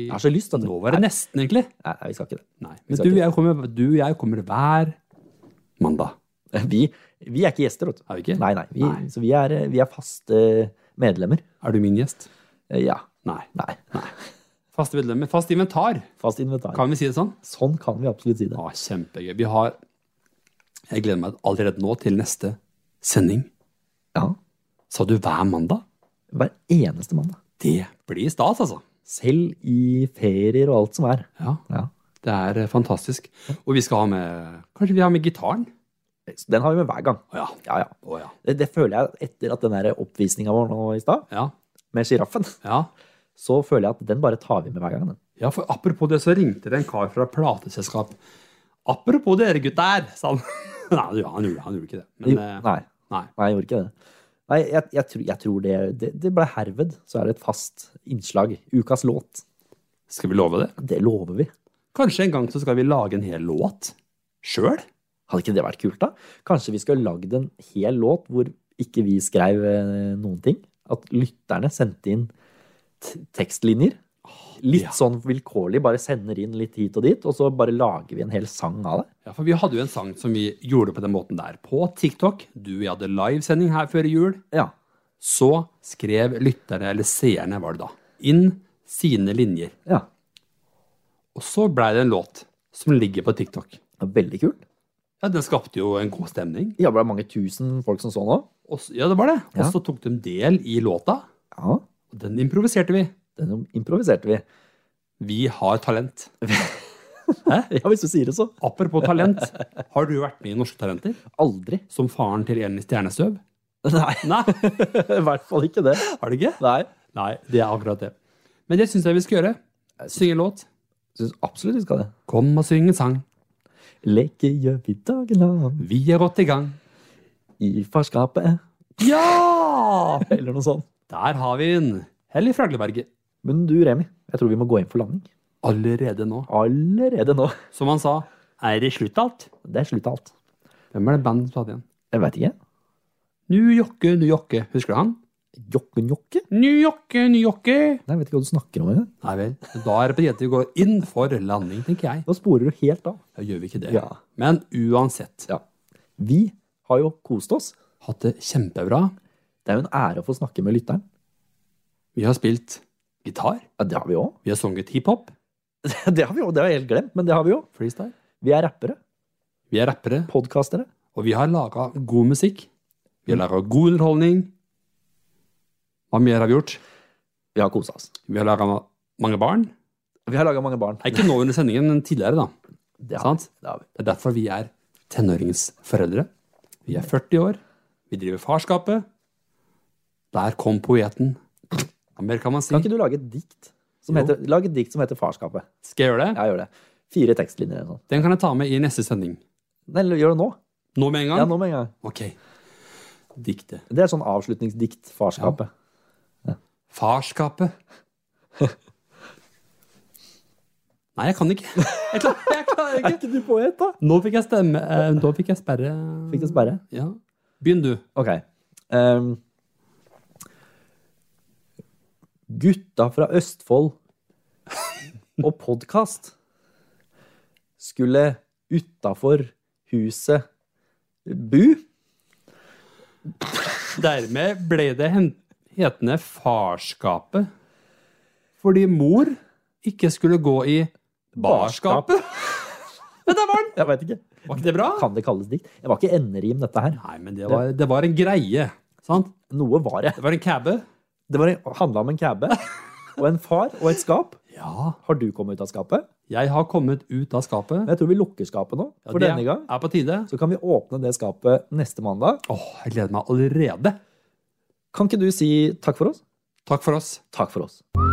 Speaker 1: Jeg har så lyst til
Speaker 2: Nå var det nesten, egentlig.
Speaker 1: Nei, nei, vi skal ikke det.
Speaker 2: Nei.
Speaker 1: Vi
Speaker 2: Men
Speaker 1: skal
Speaker 2: du og
Speaker 1: ikke-
Speaker 2: jeg kommer, du og jeg kommer hver mandag.
Speaker 1: Vi, vi er ikke gjester, vet du.
Speaker 2: Er vi ikke?
Speaker 1: Nei, nei. Vi,
Speaker 2: Nei.
Speaker 1: Så vi er, eh, vi er faste medlemmer.
Speaker 2: Er du min gjest?
Speaker 1: Eh, Ja.
Speaker 2: Nei.
Speaker 1: Nei.
Speaker 2: Faste medlemmer. Fast inventar,
Speaker 1: Fast inventar.
Speaker 2: kan vi si det sånn?
Speaker 1: Sånn kan vi absolutt si det.
Speaker 2: Ja, kjempegøy. Vi har Jeg gleder meg allerede nå til neste sending.
Speaker 1: Ja.
Speaker 2: Sa du hver mandag?
Speaker 1: Hver eneste mandag.
Speaker 2: Det blir stas, altså.
Speaker 1: Selv i ferier og alt som er.
Speaker 2: Ja,
Speaker 1: Ja.
Speaker 2: det er eh, fantastisk. Og vi skal ha med Kanskje vi har med gitaren?
Speaker 1: Så den har vi med hver gang.
Speaker 2: Å ja.
Speaker 1: Ja, ja.
Speaker 2: Å ja.
Speaker 1: Det, det føler jeg etter at den der oppvisninga vår nå i stad,
Speaker 2: Ja.
Speaker 1: med sjiraffen,
Speaker 2: ja.
Speaker 1: så føler jeg at den bare tar vi med hver gang. Den.
Speaker 2: Ja, for apropos det, så ringte det en kar fra plateselskap. 'Apropos dere gutter', sa han. Nei, han gjorde- han gjorde, han gjorde ikke det. Men
Speaker 1: Jo,
Speaker 2: eh,
Speaker 1: nei,
Speaker 2: nei.
Speaker 1: nei, jeg gjorde ikke det. Nei, jeg, jeg, tror, jeg tror det, det Det ble herved. Så er det et fast innslag. Ukas låt.
Speaker 2: Skal vi love det?
Speaker 1: Det lover vi.
Speaker 2: Kanskje en gang så skal vi lage en hel låt sjøl?
Speaker 1: Hadde ikke det vært kult, da? Kanskje vi skulle lagd en hel låt hvor ikke vi skrev eh, noen ting? At lytterne sendte inn t tekstlinjer? Litt
Speaker 2: ja.
Speaker 1: sånn vilkårlig, bare sender inn litt hit og dit, og så bare lager vi en hel sang av det?
Speaker 2: Ja, for vi hadde jo en sang som vi gjorde på den måten der på TikTok. Du og jeg hadde livesending her før jul.
Speaker 1: Ja.
Speaker 2: Så skrev lytterne, eller seerne var det da, inn sine linjer.
Speaker 1: ja.
Speaker 2: Og så blei det en låt som ligger på TikTok.
Speaker 1: Det var Veldig kult.
Speaker 2: Ja, Den skapte jo en god stemning.
Speaker 1: Ja, det ble mange tusen folk som så nå.
Speaker 2: Og så, ja, det var det. Og
Speaker 1: Ja.
Speaker 2: så tok de del i låta,
Speaker 1: Ja,
Speaker 2: og den improviserte vi.
Speaker 1: den improviserte vi.
Speaker 2: Vi har talent.
Speaker 1: Ja, hvis du sier det, så.
Speaker 2: Apropos talent, har du vært med i Norske Talenter?
Speaker 1: Aldri.
Speaker 2: Som faren til Elin i Stjernestøv?
Speaker 1: Nei,
Speaker 2: Nei,
Speaker 1: i hvert fall ikke det.
Speaker 2: har du ikke?
Speaker 1: Nei.
Speaker 2: Nei, det er akkurat det. Men det syns jeg vi skal gjøre. Synge en låt.
Speaker 1: Syns absolutt vi skal det.
Speaker 2: Kom og syng en sang.
Speaker 1: Leke gjør vi dagen lang
Speaker 2: Vi er godt i gang.
Speaker 1: i farskapet,
Speaker 2: Ja!
Speaker 1: eller noe sånt.
Speaker 2: Der har vi den. Hellig Fragleberget.
Speaker 1: Men du, Remi, jeg tror vi må gå inn for landing.
Speaker 2: Allerede nå.
Speaker 1: Allerede nå.
Speaker 2: Som han sa, er det slutt alt?
Speaker 1: Det er slutt alt.
Speaker 2: Hvem er det bandet som sa det igjen?
Speaker 1: Jeg veit ikke.
Speaker 2: New Jokke, New Jokke. Husker du han?
Speaker 1: Jokken-jokke?
Speaker 2: New Jokke, New Jokke.
Speaker 1: Nei, jeg vet ikke hva du snakker om engang.
Speaker 2: Nei vel. Da er det på tide at vi går inn for landing, tenker jeg.
Speaker 1: Nå sporer du helt av.
Speaker 2: Da gjør vi ikke det.
Speaker 1: Ja.
Speaker 2: Men uansett.
Speaker 1: Ja. Vi har jo kost oss.
Speaker 2: Hatt det kjempebra.
Speaker 1: Det er jo en ære å få snakke med lytteren.
Speaker 2: Vi har spilt gitar.
Speaker 1: Ja, det har vi òg.
Speaker 2: Vi har sunget hiphop.
Speaker 1: Det har vi jo, det har jeg helt glemt, men det har vi jo.
Speaker 2: Freestyle.
Speaker 1: Vi er rappere.
Speaker 2: Vi er rappere,
Speaker 1: Podkastere.
Speaker 2: og vi har laga god musikk. Vi har laga god underholdning. Hva mer har vi gjort?
Speaker 1: Vi har kosa oss.
Speaker 2: Vi har laga mange barn.
Speaker 1: Vi har laga mange barn.
Speaker 2: Nei, ikke nå under sendingen, men tidligere, da.
Speaker 1: Det har,
Speaker 2: Sant?
Speaker 1: vi. det har vi.
Speaker 2: Det er derfor vi er tenåringsforeldre. Vi er 40 år. Vi driver farskapet. Der kom poeten. Hva mer kan man si?
Speaker 1: Kan ikke du lage et dikt som
Speaker 2: Jo.
Speaker 1: heter, lag et dikt som heter Farskapet?
Speaker 2: Skal jeg gjøre det?
Speaker 1: Jeg gjør det. Fire tekstlinjer eller noe sånt.
Speaker 2: Den kan jeg ta med i neste sending.
Speaker 1: Nei, eller gjør det nå.
Speaker 2: Nå med en gang?
Speaker 1: Ja, nå med en gang.
Speaker 2: Ok. Diktet.
Speaker 1: Det er sånn avslutningsdikt. Farskapet.
Speaker 2: Farskapet. Nei, jeg kan ikke. Jeg klarer, jeg klarer ikke.
Speaker 1: ikke du poet, da?
Speaker 2: Nå fikk jeg stemme. eh, Nå fikk jeg sperre.
Speaker 1: Fikk du sperre?
Speaker 2: Ja. Begynn du.
Speaker 1: Ok. Ehm. gutta fra Østfold og podkast skulle utafor huset bu.
Speaker 2: Dermed ble det hen- hetende farskapet. Fordi mor ikke skulle gå i barskapet. Men der var den!
Speaker 1: Jeg veit ikke.
Speaker 2: Var ikke det bra?
Speaker 1: Kan det kalles dikt? Det var ikke enderim, dette her.
Speaker 2: Nei, men det var, det var en greie. Sant?
Speaker 1: Noe var det.
Speaker 2: Det var en cabbe.
Speaker 1: Det var en- handla om en kæbe og en far og et skap.
Speaker 2: Ja.
Speaker 1: Har du kommet ut av skapet?
Speaker 2: Jeg har kommet ut av skapet.
Speaker 1: Men jeg tror vi lukker skapet nå.
Speaker 2: Ja,
Speaker 1: For
Speaker 2: det
Speaker 1: denne gang
Speaker 2: er på tide.
Speaker 1: så kan vi åpne det skapet neste mandag.
Speaker 2: Åh, jeg gleder meg allerede.
Speaker 1: Kan ikke du si takk for oss?
Speaker 2: Takk for oss.
Speaker 1: Takk for oss.